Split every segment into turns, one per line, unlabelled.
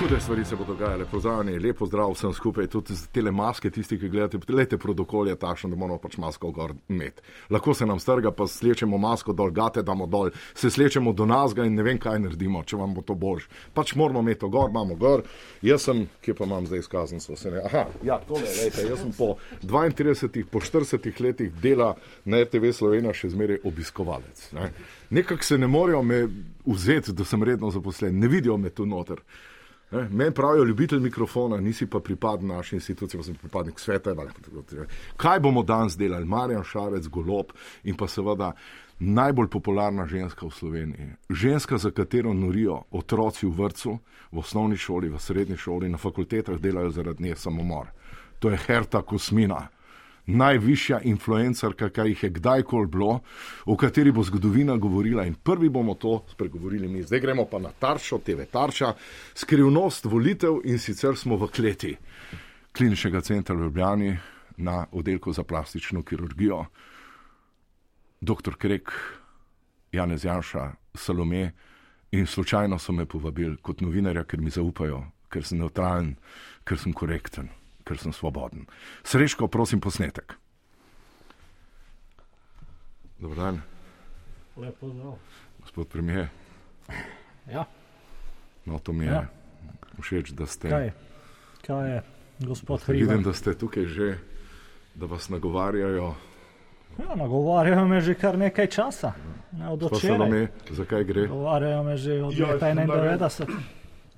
Hude stvari se bodo dogajale, pozdravljeni, lepo zdrav vsem skupaj, tudi z telemaske, tisti, ki gledate, lete protokolje takšno, da moramo pač masko gor imeti. Lahko se nam strga, pa slečemo masko dol, gate damo dol, se slečemo do nas in ne vem, kaj naredimo, če vam bo to bož. Pač moramo imeti to gor, imamo gor. Jaz sem, kje pa imam zdaj izkaznico, se ne. Aha, ja, tole, lejte, jaz sem po 32, po 40 letih dela na RTV Slovenija še zmeraj obiskovalec. Ne? Nekako se ne morejo me vzeti, da sem redno zaposlen, ne vidijo me tu noter. Ne, Meni pravijo, ljubitelj mikrofona, nisi pa pripadnik naše institucije, pa sem pripadnik sveta. Kaj bomo danes delali? Marjan Šarec, Golop in pa seveda najbolj popularna ženska v Sloveniji. Ženska, za katero norijo otroci v vrtu, v osnovni šoli, v srednji šoli, na fakultetah delajo zaradi nje samomor. To je Herta Kosmina najvišja influencerka, kar jih je kdajkoli bilo, o kateri bo zgodovina govorila. In prvi bomo to spregovorili mi. Zdaj gremo pa na Taršo, TV Tarša, skrivnost volitev in sicer smo v kleti kliničnega centra v Ljubljani na oddelku za plastično kirurgijo. Doktor Krek, Janez Janša, Salome in slučajno so me povabili kot novinarja, ker mi zaupajo, ker sem neutralen, ker sem korekten ker sem svoboden. Srečko, prosim, posnetek. Dobro dan,
Lepo zdrav.
gospod premijer.
Ja,
No, to mi je ja.
Ja.
všeč, da ste.
kaj, kaj je, gospod
Vidim,
Hriben?
da ste tukaj že, da vas nagovarjajo.
Ja, nagovarjajo me že kar nekaj časa, ne, od
Pa se
včeraj.
nam je, zakaj gre.
Nagovarjajo me že od
Ja,
leta
ne vem.
91.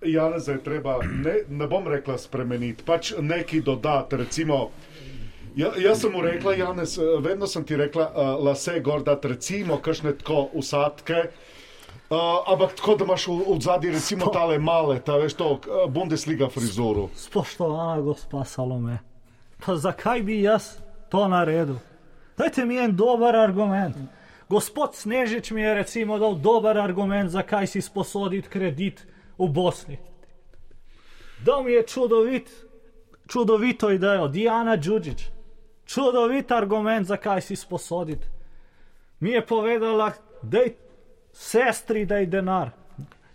Janeza je treba, ne, ne bom rekla spremeniti, pač neki dodati. Recimo, ja, jaz sem mu rekla, Janez, eh, vedno sem ti rekla, uh, lase gor, da recimo kakšne tako usadke. Uh, ampak tako, da imaš v- v zadnji, recimo, tale male, ta veš, to eh, Bundesliga frizuro.
Spoštovana gospa Salome, pa zakaj bi jaz to naredil? Dajte mi en dober argument. Gospod Snežič mi je recimo dal dober argument, zakaj si sposoditi kredit v Bosni. Dal mi je čudovit, čudovito idejo, Diana Đuđić. Čudovit argument, zakaj si sposoditi. Mi je povedala, da je sestri, da je denar.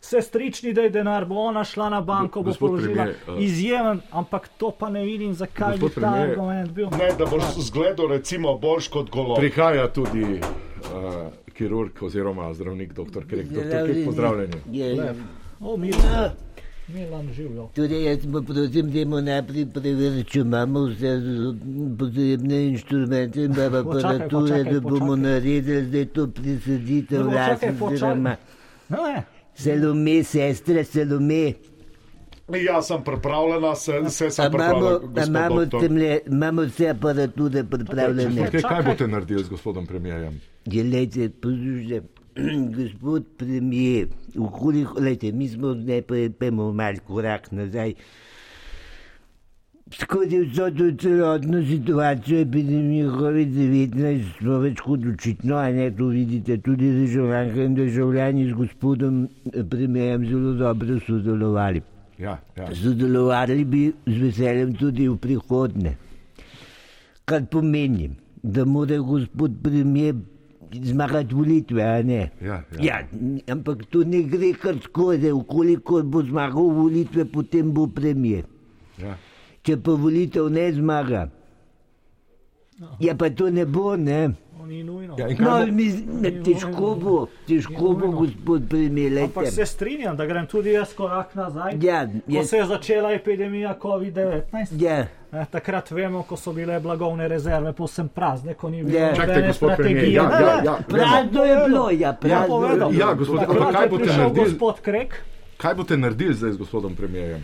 Sestrični, da je denar, bo ona šla na banko, bo
Gospod
položila
premier, eh,
izjemen, ampak to pa ne vidim, zakaj bi
Gospod
ta
premier,
argument bil.
Ne, da
Ja.
boš zgledal, recimo, boljš kot golo.
Prihaja tudi uh, kirurg oziroma zdravnik, doktor Krek. Doktor Krek, pozdravljeni.
Ja.
O, Milan, Milan živjo.
Torej, jaz pa prosim, da mu najprej preveri, če imamo vse z- potrebne inštrumente in pa aparature,
počakaj,
da bomo
počakaj.
naredili zdaj to
Ne,
prisaditev
počakaj,
lase.
počakaj.
oziroma-
Ne,
Salome, sestra, Salome,
Jaz sem pripravljena, se, se
a
sem
imamo, a
pripravljena.
imamo,
gospod doktor.
temle, imamo vse aparature pripravljene.
Kaj, kaj
Čakaj.
boste naredili z gospodom premijerjem?
Glejte, poslušajte, gospod premijer, ukoliko, glejte, mi smo zdaj pa pojmo mal korak nazaj. Skozi vso to celotno situacijo epidemije COVID-19 smo več kot očitno, a ne to vidite, tudi državljanke in državljani z gospodom eh, premijerjem zelo dobro sodelovali.
Ja, ja.
Sodelovali bi z veseljem tudi v prihodnje. Kar pomeni, da mora gospod premijer zmagati volitve, a ne?
Ja, ja.
ja, ampak to ne gre kar skozi. Ukoliko bo zmagal volitve, potem bo premijer.
ja.
Če pa volitev ne zmaga,
No.
ja pa to ne bo, ne?
to ni nujno.
Ja, in kaj
No,
bo-
mi, ne, težko bo, težko bo, gospod premijer.
Ja, no. Ampak
lejte.
se strinjam, da grem tudi jaz korak nazaj.
Ja,
Ko
jaz-
se je začela epidemija COVID-19,
Ja.
eh, takrat vemo, ko so bile blagovne rezerve povsem prazne, ko ni bilo
Ja.
Čakajte,
nobene
gospod premier,
strategije.
ja,
Ne,
ja,
ne,
ja,
Prazno je bilo, ja,
Ja,
prazno je
povedal.
bilo.
Ja, gospod, ampak
Takrat
kaj
je
boste
prišel
naredili?
Gospod Krek,
Kaj boste naredili zdaj z gospodom premijerjem?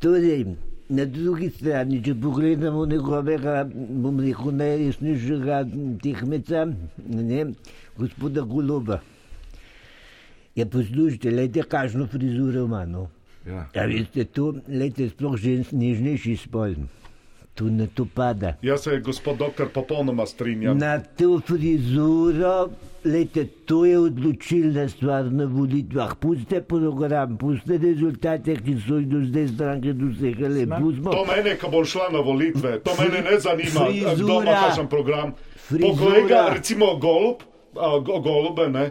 Torej, na drugi strani, če pogledamo njegovega, bom rekel, najresnejšega tehmeca, ne, gospoda Goloba, je poslušajte, lejte, kakšno frizuro ima. No.
Ja.
Ja, veste, to, lejte, sploh že nežnejši spol, tu na to pada.
Jaz se, gospod doktor, popolnoma strinjam.
Na to frizuro, lejte, to je odločilna stvar na volitvah. Pustite program, pustite rezultate, ki so jih do zdaj stranke dosegale. Pustimo.
To mene, ko bo šla na volitve, to mene ne zanima,
Frizura.
kdo ima kakšen program.
Frizura.
Po kolega, recimo Golub, a, go, Golube, ne.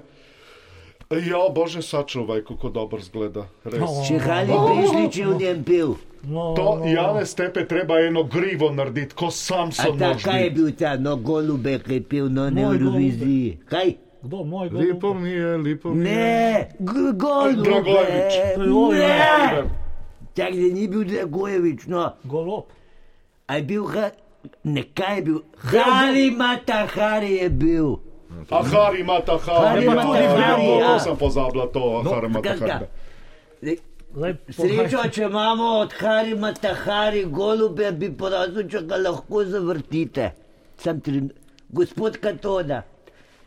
Ja, bože, sačuvaj, kako dobro zgleda. Res.
No.
Čehali prišli, če je v njem pil.
No,
To
no.
ja.
Janez tepe treba eno grivo narediti, ko sam
A
sem
ta, kaj je
nožni.
bil ta, no, golube, ki je no, pil na
Moj
Euroviziji? Kaj?
Kdo moj golub?
Lepo mi je, lepo mi je.
Ne, g- golube.
Dragojević.
Ne, tak da ni bil Dragojevič, no.
Golob.
A je bil, ha, ne, kaj je bil? Hari Matahari je bil.
Ahari ima ta hari,
Hari
ima
ima
tudi
ta hari,
vrnil,
ja.
to sem pozabila, to ahari ima ta
Skratka,
hari.
le-
Zdaj,
Srečo,
pohaj-
če imamo od Hari Matahari golube, bi prosil, če ga lahko zavrtite. Sam trin... Gospod Katoda,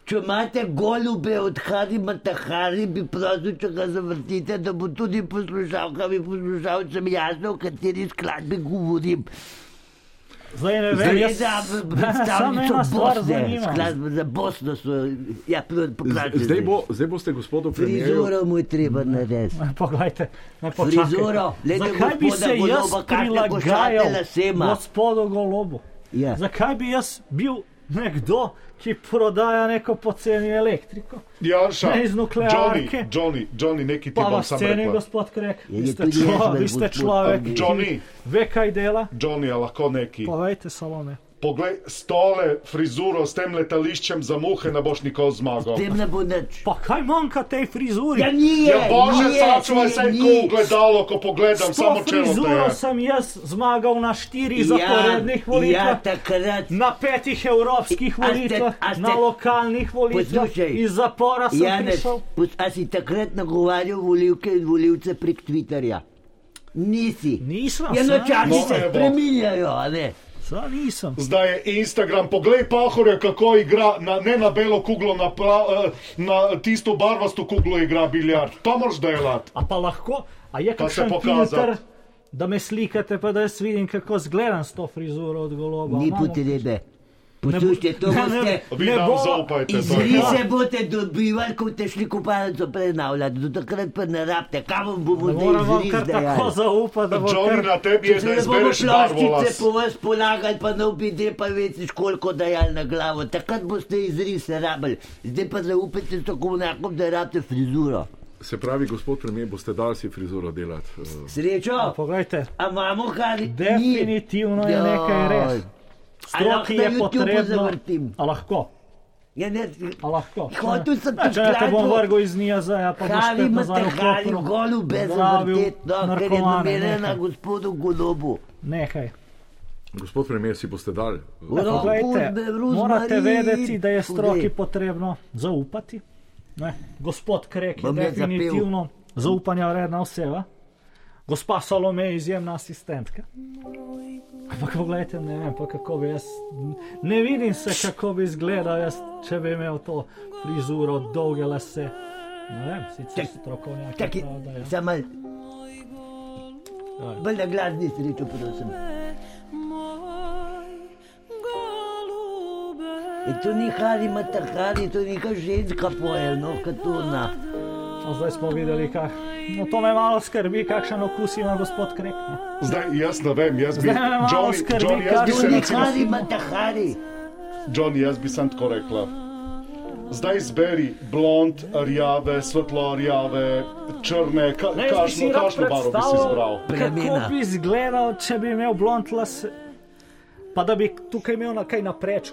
če imate golube od Hari Matahari, bi prosil, če ga zavrtite, da bo tudi poslušalkam in poslušalcem jasno, o kateri skladbi govorim.
Zdaj ne vem, Ja,
Zgleda
jaz
v
Mene samo
predstavnico
ena stvar
Bosne,
zanima.
skladbe za Bosno so, ja, pro- pokažite.
Zdaj, bo, zdaj boste gospodu premijeru
Frizuro mu je treba narediti.
Poglejte, ne počakajte.
Frizuro, glejte
Zakaj bi
gospoda
se jaz
Goloba, kakšne
prilagajal
košate lasema.
gospodu Golobu?
Ja.
Zakaj bi jaz bil nekdo, ki prodaja neko poceni elektriko?
Janša,
Ne iz nuklearke.
Johnny, Johnny, Johnny, neki ti
Pa
bom
vas
sam
ceni,
rekla.
gospod Krek.
Je, je
Vi ste
Ja, tudi jaz
človek,
med
vi ste
gospod
človek,
Pavlič.
ki
Johnny.
ve, kaj dela.
Johnny, a lahko neki.
Povejte, Salome.
Poglej, stole, frizuro s tem letališčem za muhe ne boš nikoli zmagal.
Tem ne bo nič.
Pa kaj manjka tej frizuri?
Ja, ni je,
Ja, bože,
ni je,
sačuvaj
ni-
se, ko
ni.
gledalo, ko pogledam,
S
samo
to
čelo te
frizuro
je.
sem jaz zmagal na
Ja,
štirih zaporednih volitvah.
Ja, takrat.
Na petih
A
evropskih
ste-
volitvah,
a ste-
na lokalnih volitvah,
Poslušaj,
iz zapora sem
Janez,
prišel.
pos- a si takrat nagovarjal volivke in volivce prek Twitterja? Nisi.
Nisem,
Ja, no,
saj.
časi
No,
se
evo.
spreminjajo, a ne?
Saj nisem.
Zdaj je Instagram, poglej pahorja, kako igra, na, ne na belo kuglo, na, pra, eh, na tisto barvasto kuglo igra biljard. To moraš delati.
A pa lahko, a je
Pa se
kakšen
pokazat.
filter, da me slikate, pa da jaz vidim, kako zgledam s to frizuro od goloba.
Ni
Imamo-
potrebe.
Ne bo- Ja,
Poslušajte, to
ne, ne,
boste.
Vi
ne
nam
bova-
zaupajte, to je
Izrise boste dobivali, ko ste šli kopalnico prenavljati, do takrat pa ne rabite, kam vam bomo
Ne moram
zdaj
vam
izris
kar tako
dajali.
zaupati, da bo
Johnny, na
kar...
tebi je, da
Če bomo
izbereš barvo las.
ploščice po vas polagali, pa ne obide, pa veš, koliko dajali na glavo, takrat boste izrise rabili, zdaj pa zaupajte strokovnjakom, da rabite frizuro.
Se pravi, gospod premijer, boste dali si frizuro delati. eh.
Srečo,
Poglejte,
a imamo kar ni?
definitivno je nekaj res.
Joj. A
Stroki
lahko na
je
YouTubeu
potrebno.
zavrtim?
A lahko,
Ja, ne,
a lahko.
Hotel sem
Ne,
ti
Če ne te bom
skladbo-
vrgel iz Nijaza, pa boš
Pravi,
spet
ima
nazaj
te hrani
vklopil.
golube za
Zdravil
vrtetno, no, ker je
narkomane,
numerena
nekaj.
gospodu golobu.
Nekaj.
Gospod premijer, si boste dali. eh,
Uro.
to-
Poglejte,
Urbe, Ruzmarin,
morate vedeti, da je stroki
povej.
potrebno zaupati. Ne? Gospod Krek je
Bom jaz zapel.
definitivno zaupanja vredna oseba, gospa Salome je izjemna asistentka. Ampak poglejte, ne vem, pa kako bi jaz, ne vidim se, kako bi izgledal jaz, če bi imel to frizuro, dolge lase. Ne vem, sicer
Tak- ja.
strokovnjaki
Čakaj,
pravijo, da je.
samo. Bolj na glas ni srečo, prosim. In to ni hari, matahari, to ni kar ženska pojeljno, katona.
No, zdaj smo videli, kaj. No, to me malo skrbi, kakšen okus ima gospod Krek. Ne?
Zdaj, jaz ne vem, jaz bi,
Zdaj me malo
Johnny,
skrbi,
Johnny, jaz bi
kaj
To
se
ni
recimo,
hari, matahari.
Johnny, jaz bi sam tako rekla. Zdaj izberi blond, rjave, svetlo rjave, črne, ka,
Ne, jaz bi si
kašno,
rad
kašno barvo bi si izbral.
Kako
Bremena.
bi izgledal, če bi imel blond las, pa da bi tukaj imel na kaj napreč.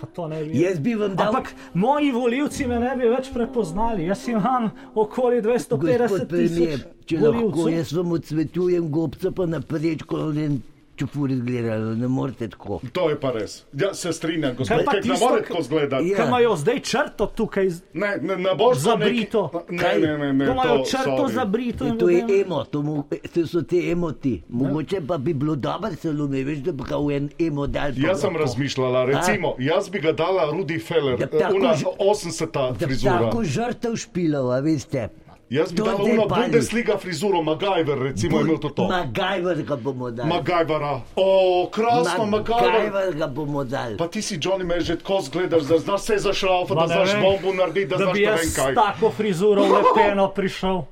Pa to ne bi.
Jaz bi vam dal.
Ampak moji voljivci me ne bi več prepoznali. Jaz imam okoli 250
Gospod
tisoč
premijer, če lahko,
voljivcev.
jaz vam odsvetujem gobca, pa naprej, ko en čupur izgleda, ne morete tako.
To je pa res. Ja, se strinjam, gospod,
Kaj pa
kaj ne
tisto,
more
k-
tako zgledati.
Ja.
Kaj imajo zdaj črto tukaj, z-
Ne, ne, ne boš to
Zabrito.
Neki,
Kaj?
ne, ne, ne, ne,
to imajo
to,
črto
sorry.
za brito
In
in
to ja No. je
potem-
emo, to, mu, to so te emoti. Mogoče pa bi bilo dobro, celo ne veš, da bi ga v en emo dal. pa
Jaz
ga
sem
to.
razmišljala, recimo, jaz bi ga dala Rudi Feller,
Da bi tako
una
že-
80-ta
Da bi
frizura.
Tako žrtev špilov, a veste.
Jaz bi
To
dala
te
uno
pali.
Bundesliga frizuro, MacGyver, recimo, je imel to to.
Magajver ga bomo dali.
MacGyvera, o, krasno, MacGyver.
Magajver ga bomo dali.
Pa ti si, Johnny, me že tako zgledaš, da znaš vse zašraufati,
Ma
da
ne
znaš
vem,
bombo narediti, da,
da
znaš
bi
ne
jaz
vem
s
kaj.
tako frizuro lepeno prišel.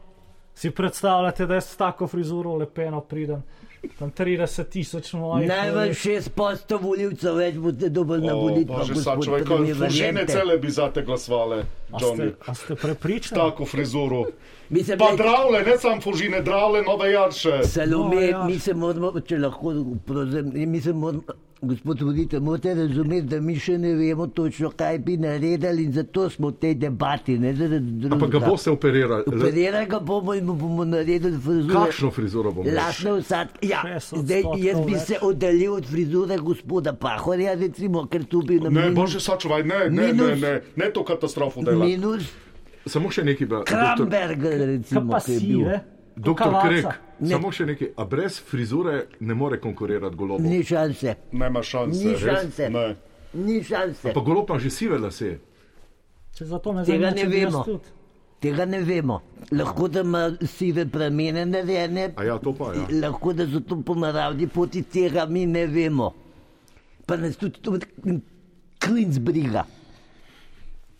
Si predstavljate, da jaz s tako frizuro lepeno pridem Tam 30 tisoč mojih.
Najmanj 6% voljivcev več boste dobili na volitvah.
Bože, sad
gospod,
človek,
pa da mi
fužine
verjemite.
cele bi za te glasovale,
A
Johnny.
ste, a ste prepričani?
Tako frizuro.
Mislim,
Pa
glejte,
dravle, ne samo fužine, dravle, nove jarše.
Salome,
No,
no,
ja.
ja. mi se moramo, če lahko, prosim, mi se moramo, gospod voditelj, morate razumeti, da mi še ne vemo točno, kaj bi naredili in zato smo v tej debati. Ne, zaradi
Ampak ga
drugega.
boste operirali. Le-
Operirali ga bomo in mu bomo naredili frizuro.
Kakšno frizuro bomo?
Lasno vsad. Ja,
Šest odstotkov
zdaj, jaz bi
več.
se oddaljil od frizure gospoda Pahorja, recimo, ker tu bi nam
Ne, bože, sad človek, ne, ne, ne,
Minus.
ne, ne to katastrofo dela.
minus
Samo še nekaj, ba- doktor,
Kramberger,
Kaj
recimo,
pa
ki je bil.
sive?
doktor
Kavaca.
Krek,
Ne.
samo še nekaj. A brez frizure ne more konkurirati golobu.
Ni šanse,
Nema šanse.
Ni
res.
šanse.
Ne.
ni šanse.
Pa golob ima že sive lase.
Če zato me
Tega
zanima,
ne
če bi jaz
vemo.
tudi.
Tega ne vemo. Lahko da ima sive pramene narejene,
A ja, to pa ja.
lahko da so to pomaravni poti, tega mi ne vemo. Pa nas tudi to klinc briga.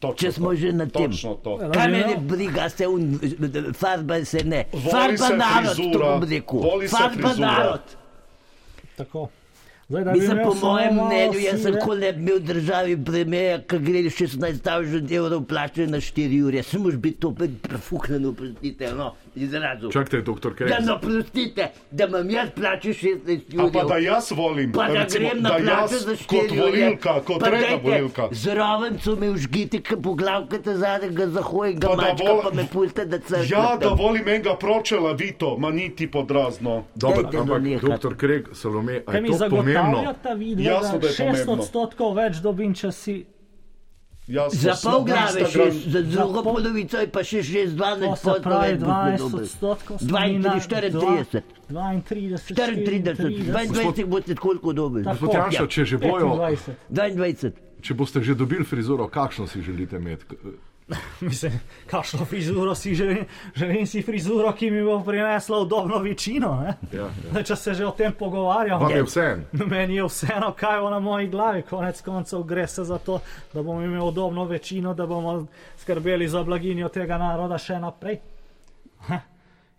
Točno
Če smo
to.
že na tem.
Točno to.
Ja,
Kaj
že
me
ne.
ne briga, se un, farba se ne.
Voli
Farba
se
narod, to
frizura,
bom rekel.
voli se
Farba
frizura.
narod.
Tako. Zdaj, da bi
Mislim,
imel
po
samo
mojem
malo
mnenju, jaz sem
sive-
kot ne bi bil v državi premijer, ki gre 16.000 evrov plače na 4 ure. Se moraš biti to prefuknjeno, prostite, no, izrazu.
Čakajte, doktor Krek.
Da, no, prostite, da imam jaz plače 16
A pa da
jurjev.
jaz volim,
Pa da
recimo,
grem na
da
plače
jaz
za 4
kot volilka, kot redna volilka.
Zraven so me užgiti, ki poglavkate zadnjega
Pa
zahojega
da
mačka,
vol-
pa me puste, da se
Ja, da volim enega pročela, Vito, ma niti podrazno.
Dobro,
Dajte
ampak,
nehat.
doktor Krek, Salome, a
Kaj
je
mi
to pomembno?
zagotavljata vidno,
Jasno, da
da
je
6
pomembno.
odstotkov več dobim, če si
Jaz
Za
sem
pol
na
glave, še,
Instagram-
za drugo
Za pol-
polovico je pa še 6, 12,
To se pravi 12 odstotkov.
32, 34,
32,
34, 22 boste koliko dobili?
Tako.
Gospod Janša,
Ja.
če že bojo,
25.
22.
če boste že dobili frizuro, kakšno si želite imeti?
Mislim, kakšno frizuro si želim? Želim si frizuro, ki mi bo prinesla udobno večino. ne.
Ja, ja.
Zdaj, Če se že o tem pogovarjamo.
Vam je vseeno.
Meni je vseeno, kaj je na moji glavi, konec koncev gre se za to, da bomo imeli udobno večino, da bomo skrbeli za blaginjo tega naroda še naprej. Ha,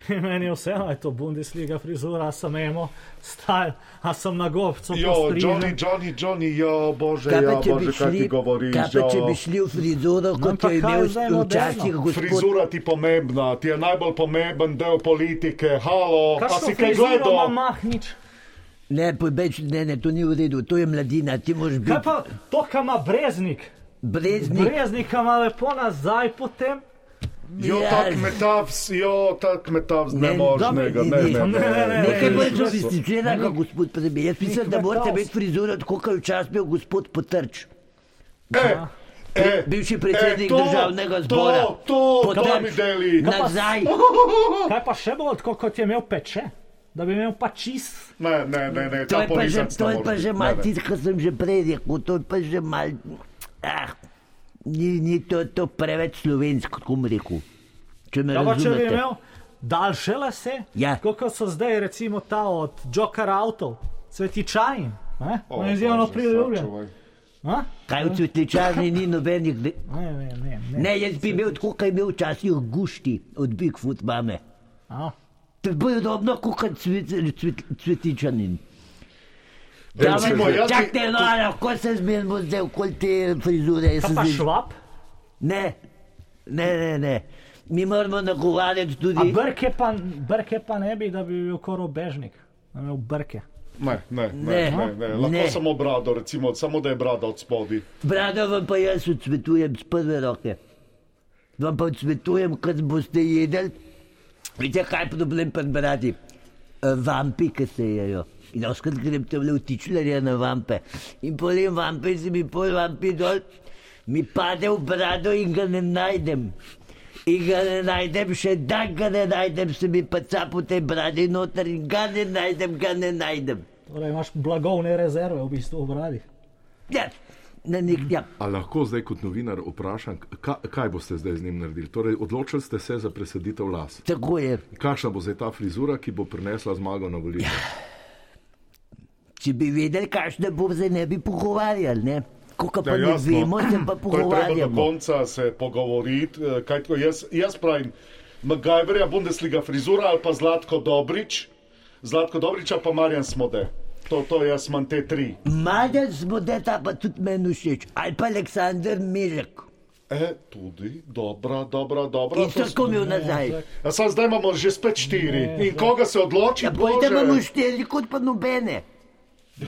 in Meni je vseeno, ali je to Bundesliga, frizura, a sem emo, stajl, a sem na gobcu.
Jo, Johnny,
postrižen.
Johnny, Johnny, jo, bože,
Kaj pa,
ja,
če bi
bože, kaj ti
šli-
govoriš? ja.
kaj pa, če
jo.
bi šli v frizuro, kot
No, pa
jo je
kaj
imel
zdaj moderno?
včasih gospod
Frizura ti je pomembna, ti je najbolj pomemben del politike. Halo, a
Kakšno
si kaj
frizuro ima
gledal?
Mahnič?
Ne, pobeč, ne, ne, to ni v redu, to je mladina, ti moraš
Kaj
biti
pa to, kar ima Breznik?
breznik.
Breznik ima lepo nazaj potem.
Jo,
Ja.
tak metavs, jo, tak metavs,
Ne,
ne moreš
dobro,
njega,
ne,
ne,
ne,
ne,
ne, ne,
Nekaj
ne,
bolj
ne,
sofisticiranega, gospod premijer. Jaz mislim, da morate imeti frizuro, tako kot je včasih imel gospod Potrč.
E, e,
Bivši predsednik
e, to,
državnega zbora.
To, to, to
Potrč,
mi deli.
Nazaj.
Kaj pa še bolj tako, kot je imel peče, da bi imel pa čist.
Ne, ne, ne, ne,
To
ta
je pa že,
policac
to
ne more
je pa
biti,
že
ne,
malo
ne.
tisto, kar sem že prej rekel, to je pa že malo. Ah, ni, ni to, to preveč slovensko, kako bi rekel. Če me
Ja, pa če bi
razumete.
imel daljše lase,
Ja.
tako kot so zdaj recimo ta od Joker avtov, cvetičajin. Ne,
O,
On je izjemno
bože,
priljubljen.
sačuvaj.
A?
Kaj v cvetličarni ni nobenih. de-
Ne, ne, ne. ne.
Ne, jaz bi imel tako, kot je imel včasih gušti od Bigfoot mame.
A,
To je bolj udobno, kot cvet, cvet, cvetičanin.
Dajmo
Ja,
se
men-
zdaj-
jaz bi-
Čakajte, no, lahko se zmerimo zdaj okoli te frizure. jaz
Kaj
sem
pa
zdaj-
švab,
Ne, ne, ne, ne. Mi moramo nagovarjati
a
tudi.
brke pa, brke pa ne bi, da bi bil korobežnik. Da bi imel brke.
Ne, ne, ne,
Ne.
ne, ne. lahko
Ne.
samo brado, recimo, samo da je brada od spodaj.
Brado vam pa jaz odsvetujem z prve roke. Vam pa odsvetujem, kad boste jedli. Vidite, kaj je problem pri bradi? Eh, Vampi, ki se jejo. In oskrat grem tam le vtičljarja na vampe. In polim vampe, in se mi pol vampi dol, mi pade v brado in ga ne najdem. In ga ne najdem, še dan ga ne najdem, se mi pa capu te bradi noter in ga ne najdem, ga ne najdem.
Torej imaš blagovne rezerve v bistvu v bradi.
Ja, na nek, ja.
A lahko zdaj kot novinar vprašam, ka- kaj boste zdaj z njim naredili? Torej, odločili ste se za presaditev las.
Tako je.
Kakšna bo zdaj ta frizura, ki bo prinesla zmago na volitvah?
Če bi vedeli, kakšne bo, se ne bi pogovarjali. Ne? Ko pa
Ja,
ne
jasno.
vemo, se
Ko je treba
pa
do
pogovarjamo.
konca se pogovoriti, eh, kaj tako jaz, jaz pravim, MacGyverja, Bundesliga frizura ali pa Zlatko Dobrič. Zlatko Dobriča pa Marjan Smode. To, to jaz imam te tri.
Mladen zbodeta pa tudi meni všeč, ali pa Aleksandr Mižek.
E, tudi, dobra, dobra, dobra.
In
to smo-
tako mi je nazaj.
A sad zdaj imamo že spet štiri. In koga se odloči?
Ja,
Bože.
pojdi imamo štiri kot pa nobene.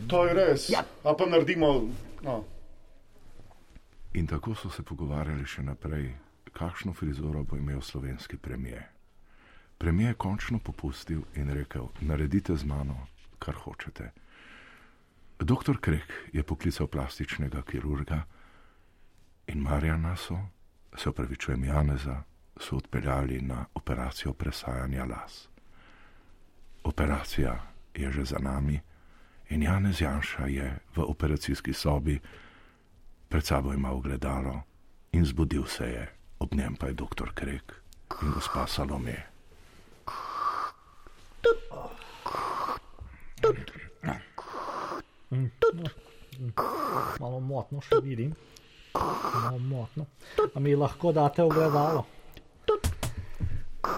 To je res.
Ja.
A pa naredimo. No.
In tako so se pogovarjali še naprej, kakšno frizuro bo imel slovenski premijer. Premijer je končno popustil in rekel: Naredite z mano, kar hočete. Doktor Krek je poklical plastičnega kirurga in Marjana so, se opravičujem, Janeza, so odpeljali na operacijo presajanja las. Operacija je že za nami in Janez Janša je v operacijski sobi Pred sabo je imel ogledalo in zbudil se je, ob njem pa je doktor Krek in gospa Salome.
Malo motno še vidim. Malo motno. A mi lahko date ogledalo?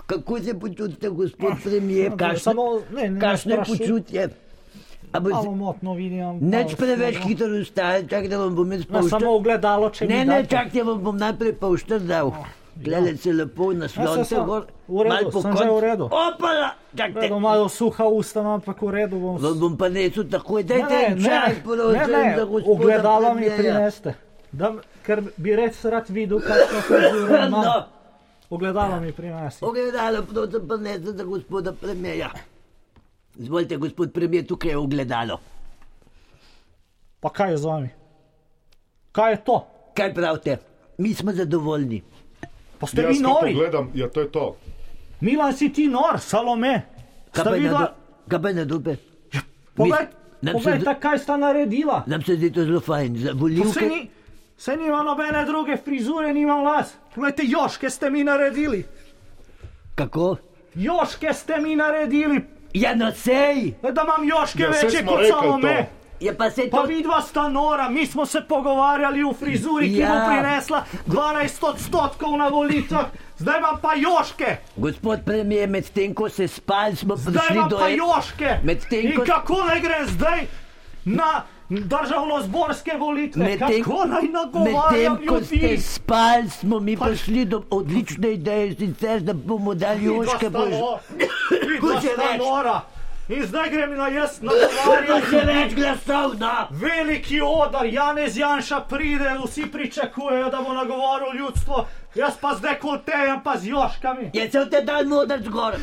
Kako se počutite, gospod premijer?
Ja, Samo, ne, ne,
Kakšno je
strašno.
počutje? A bo-
Malo motno vidim.
Nič
malo
preveč
slabo.
hitro vstaje, čak da vam bom jaz
Na
povštel.
samo ogledalo, če
Ne,
mi
ne,
date. No,
čakajte, vam bom najprej pa uštrdal. Gledaj se lepo na
sem,
slonce
Ja, sem.
gor.
V redu,
malo po
sem že v
koncu.
redu.
Opala,
V
čakajte.
redu, Malo suha usta, no, ampak v redu bom.
Vam bom pa nesel takoj, dajte
Ne,
en čaj,
ne,
prosim,
ne,
za gospoda
ogledalo mi
premierja.
prineste. Da, ker bi res rad videl, kakšno frizuro ima.
No,
Ogledalo mi prinese.
ogledalo, prosim, prinese za gospoda premijerja. Izvolite, gospod premijer, tukaj je ogledalo.
Pa kaj je z vami? Kaj je to?
Kaj pravite? Mi smo zadovoljni.
Pa ste
Jaz
vi
to
nori?
pogledam, ja, to je to.
Milan si ti nor, Salome.
Kaj
Sta
pa je na
videla-
do- Kaj pa je na dobe?
Poglej,
nam se
poglej
do-
ta, kaj sta naredila.
Nam se zdi to zelo fajn, za volivke.
Se ni, se nima nobene druge frizure, nimam las. Poglejte, joške ste mi naredili.
Kako?
Joške ste mi naredili.
Ja, no sej!
E, Da imam joške
Ja, saj
večje
smo
kot
rekli
Salome.
to.
Je pa se to...
Pa vidva sta nora, mi smo se pogovarjali o frizuri, ki
Ja.
bo prinesla 12 odstotkov na volitvah, zdaj imam pa joške,
Gospod premijer, medtem ko se spali, smo
zdaj
prišli
imam
do
pa
en-
joške.
Medtem
In
ko-
kako naj gre zdaj na državno-zborske volitve?
Medtem
kako naj nagovarjam
medtem, ko ste
ljudi?
spali, smo mi
Pa-
prišli do odlične ideje, sicer da bomo dali
Joške
joške bož. Ko
boš.
še reč?
nora. In zdaj grem na jaz
Pa še
nagovarjati.
več glasov, no!
Veliki odar, Janez Janša pride, vsi pričakujejo, da bo nagovoril ljudstvo, jaz pa zdaj koltejem, pa z joškami.
Je se v te dan modar zgor.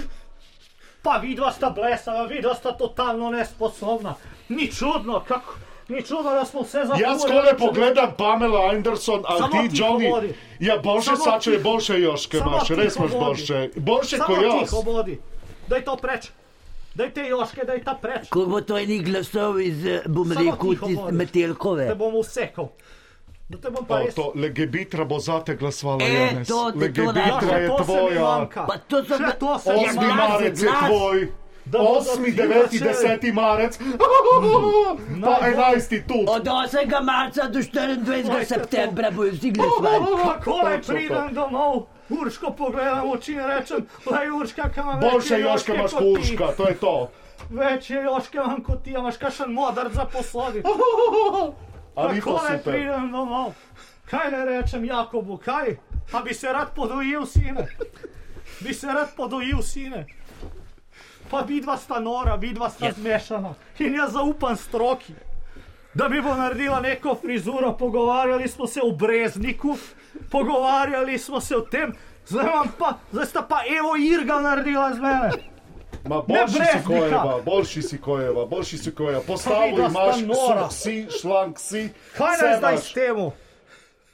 Pa vidva sta blesava, vidva sta totalno nesposobna. Ni čudno, kako, ni čudno, da smo vse zapravili.
Jaz skole pogledam Pamela Anderson, ali
Samo
ti,
tiho
Johnny.
vodi.
Ja, boljše
Samo
sače,
tiho.
boljše joške
Samo
imaš, res
tiho
imaš
vodi.
boljše. Boljše
Samo
kot jaz.
tiho vodi, daj to preč, daj te joške, daj ta preč.
Ko bo to enih glasov iz, eh, bom
Samo
rekel,
tiho
iz
bodi.
Metelkove.
Te bom usekal. Da te bom pa
O,
res.
to legebitra bo zate glasovala,
E,
Janez.
to ti to
Legebitra
daj.
še
je
to se mi
tvoja.
manjka.
Pa to so
še
bla-
to se mi
Ja,
Osmi
glas je
manjka.
marec je
glas.
tvoj.
Da bodo
Osmi,
ti
deveti,
začeli.
deseti marec. Pa
Najbolj-
enajsti tudi.
Od 8. marca do 24.
Oj, to-
septembra bojo vsi glasovali.
Kako naj
Točno to.
pridem domov, Urško pogledam v oči in rečem, da je Urška kam več.
Boljše joške imaš kot urška, to je to.
Več je joške imam kot ti, a imaš kakšen modar za posodi.
A ni to
Kako naj
super?
pridem domov? Kaj ne rečem Jakobu, kaj? Pa bi se rad podojil, sine. Bi se rad podojil, sine. Pa vidva sta nora, vidva sta zmešana. In jaz zaupam stroki, da bi bo naredila neko frizuro. Pogovarjali smo se o Brezniku, pogovarjali smo se o tem, zdaj, imam pa, zdaj sta pa Evo Irga naredila z mene.
Ma boljši si
brez
kojeva,
nika.
boljši si kojeva, boljši si kojeva. Postavo
Pa vidva
imaš,
sta nora.
si, šlank si.
Kaj
vse
naj zdaj
imaš.
s temu?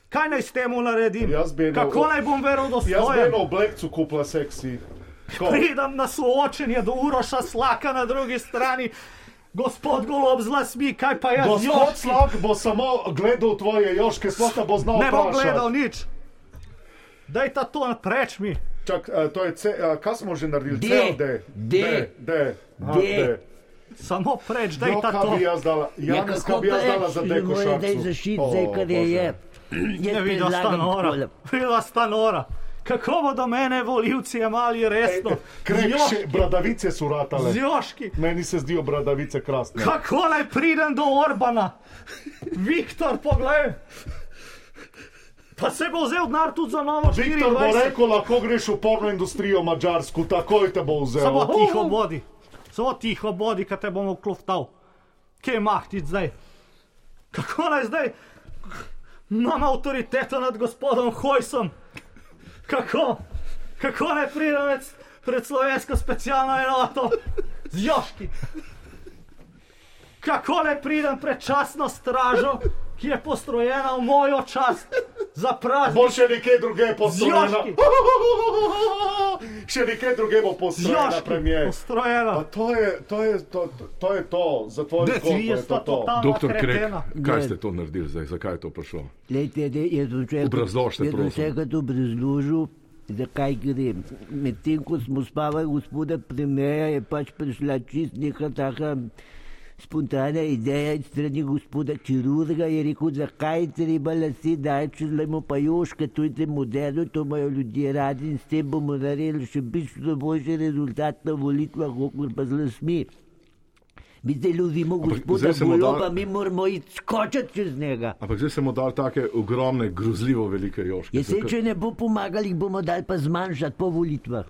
Kaj naj s temu naredim?
Jaz bi eno-
Kako naj bom
Jaz bi
verodostojen?
eno oblekcu kupila seksi. Ko?
Pridem na soočenje do Uroša Slaka na drugi strani. Gospod Golob z lasmi, kaj pa jaz z
Gospod
joški?
Slak bo samo gledal tvoje joške, sploh ne bo znal
Ne bom gledal
vprašati.
nič. Daj ta to preč mi.
Čak, eh, to je, C, eh, kaj smo že naredili?
D.
C ali D?
D.
D. D. Aha,
D.
D.
Samo preč, daj
No,
ta to.
kaj bi jaz dala?
Ja,
Janes, kaj bi jaz dala za deko
Zdaj
šarcu?
zašit,
O,
zdaj kar je
Bože.
je. Jaz
Ne vidiš ta
predlagam
nora.
takole.
Videla sta nora. kako bodo mene volivci jemali resno.
Krepše, bradavice so ratale.
Zjoški.
Meni se zdijo bradavice krasne.
Kako naj pridem do Orbana? Viktor, poglej! Pa se bo vzel denar tudi za novo
Viktor bo
24.
rekel, lahko greš v porno industrijo Mačarsko, takoj te bo vzel.
Samo tiho bodi, samo tiho bodi, kaj te bomo kloftal. Kje je mahtič zdaj? Kako naj zdaj? Imam avtoriteto nad gospodom Hojsom. Kako? Kako naj pridem med, pred slovensko specialno enoto z Joški? Kako naj pridem pred časno stražo, ki je postrojena v mojo čast za praznik?
Bo še nekje druge postrojena.
Zjoški.
še nekje druge bo
Z
postrojena
Joški,
premijer.
postrojena.
Pa to je to, je, to, to, to je to, za tvoj
Ne, ti je sta totalna
Doktor Krek,
kretena.
kaj
Ne.
ste to naredili zdaj, zakaj je to prišlo?
Lejte, de, jaz sem še
Obrazložite,
jaz sem
prosim.
še enkrat obrazložil, zakaj gre. Medtem ko smo spavali gospoda premijeja, je pač prišla čist neka taka spontana ideja iz strani gospoda kirurga, je rekel, zakaj je treba lase dajati, če zlemo pa joške, to je te moderno, to imajo ljudje radi in s tem bomo naredili še bistveno boljši rezultat na volitvah, kot pa z lasmi. Mi zdaj lovimo gospoda
zdaj se mu
Goloba,
dal-
mi moramo iti skočiti čez njega.
Ampak zdaj sem mu dal take ogromne, grozljivo velike joške.
Jaz se, če ne bo pomagali, jih bomo dali pa zmanjšati po volitvah.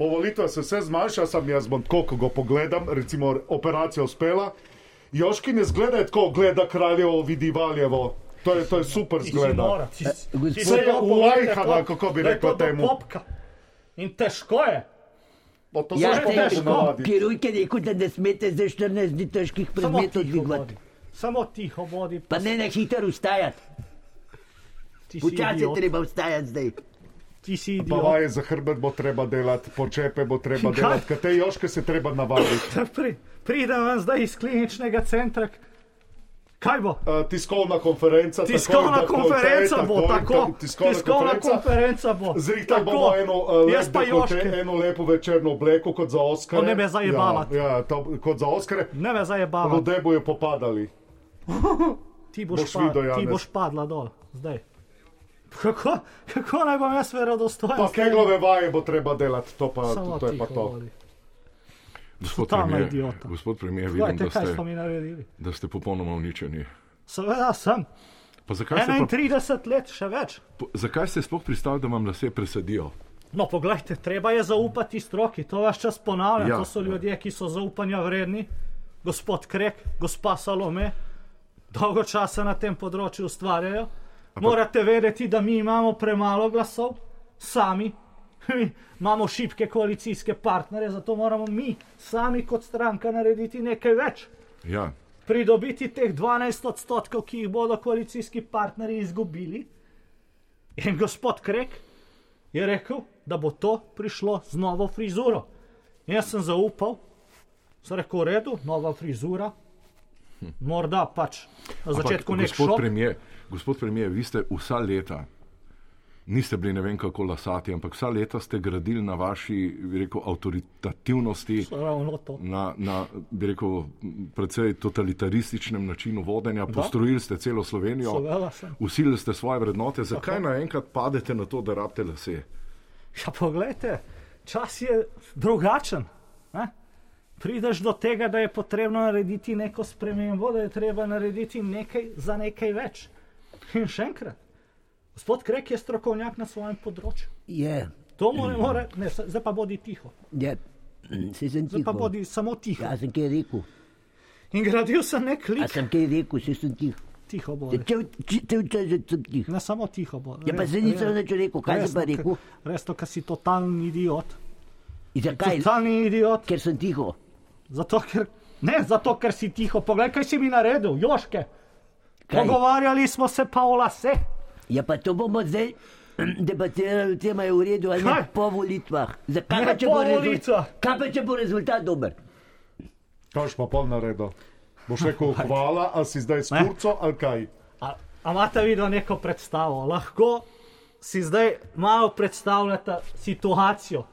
Po volitvah se vse zmanjša, sam jaz bom tako, ko ga pogledam, recimo operacija uspela. Joški ne zgleda tako, gleda kraljevo, vidi valjevo. To je, to je super
Ti si
zgleda.
mora, ti si-
gospod-
ti si
Se je
to povejte,
ulajhala,
pop-
kako bi
da je
rekel
to do
temu.
Popka. In težko je.
No, to
Ja,
se
te-
že težko navadi.
Kirurg je rekel, da ne smete za 14 dni težkih
Samo
predmetov
tiho
dvigovati.
vodi. Samo tiho vodi.
Pa ne na hitro vstajati.
Ti si
Počasi je
idiot.
treba vstajati zdaj.
Ti si
Pa
idiot.
vaje za hrbet bo treba delati, počepe bo treba
Kaj?
delati, kaj te joške se treba navaditi.
Pri, pridem vam zdaj iz kliničnega centra. Kaj bo?
Eh, tiskovna konferenca. takoj,
Tiskovna
takoj,
konferenca
takoj,
bo
takoj,
tako.
Tiskovna,
Tiskovna konferenca bo.
Zrihtali
Tako.
bomo eno, eh,
Jaz
lep
pa
dekolte,
Joške.
eno lepo večerno obleko kot za Oscar.
O, ne me zajebala.
Ja, ja to, kot za Oscar.
Ne me zajebava.
Ljudje bojo popadali.
Ti boš,
boš
boš,
videl,
pa, ti
Janez.
boš padla dol. Zdaj. Kako, kako naj bom jaz verodostojen?
Pa
s tem?
keglove vaje bo treba delati, to pa,
Samo
to je pa
tiho
to.
vodi.
Gospod
totalna
premijer,
idiota.
gospod premijer vidim,
Poglejte,
da
kaj
ste,
smo mi naredili.
da ste popolnoma uničeni.
Seveda sem.
Pa zakaj, ste pa,
31 let, še več.
po, zakaj ste sploh pristali, da vam lase presadijo?
No, poglejte, treba je zaupati stroki, to vaš čas ponavljam.
Ja.
Ja. To so ljudje, ki so zaupanja vredni, gospod Krek, gospa Salome, dolgo časa na tem področju ustvarjajo. Morate vedeti, da mi imamo premalo glasov, sami. Mi imamo šibke koalicijske partnerje, zato moramo mi, sami kot stranka, narediti nekaj več.
Ja,
pridobiti teh 12 odstotkov, ki jih bodo koalicijski partnerji izgubili. In gospod Krek je rekel, da bo to prišlo z novo frizuro. In jaz sem zaupal, sem rekel, v redu, nova frizura. Morda pač na začetku nek
gospod
šok.
premijer, gospod premijer, vi ste vsa leta, niste bili ne vem kako lasati, ampak vsa leta ste gradili na vaši, bi rekel, avtoritativnosti.
Ravno to.
Na, na, bi rekel, precej totalitarističnem načinu vodenja, postrojili ste celo Slovenijo,
Seveda sem.
usilili ste svoje vrednote. Zakaj naenkrat padete na to, da rabite lase?
Ja, poglejte, čas je drugačen. Ne? Prideš do tega, da je potrebno narediti neko spremembo, da je treba narediti nekaj za nekaj več. In še enkrat, gospod Krek je strokovnjak na svojem področju.
Je,
To mu ne more, ne, s- zdaj pa bodi tiho,
je. Se Ja. sem
zdaj pa
tiho.
bodi samo tiho.
Ja, sem kaj rekel.
In gradil sem nek
A
lik,
sem kaj rekel, se sem tiho.
tiho
Ja,
bodi.
Če včasih že sem tiho.
Ne samo tiho bodi.
Ja, pa zdaj nisem več rekel, kaj sem pa rekel.
Resno, ker si totalni idiot.
In zakaj?
Totalni idiot.
Ker sem tiho.
Zato, ker, ne, zato, ker si tiho, poglej, kaj si mi naredil, Joške.
Kaj?
Pogovarjali smo se pa o lase.
Ja, pa to bomo zdaj debatirali, če je v redu ali ne
Kaj?
po volitvah. Zakaj pa
Ne
če
po
bo rezultat?
volitvah.
Kaj pa če bo rezultat dober?
Kaj boš pa pol naredil? Boš rekel hvala, a si zdaj s
Ne.
kurco ali kaj?
A a imate vidno neko predstavo? Lahko si zdaj malo predstavljate situacijo,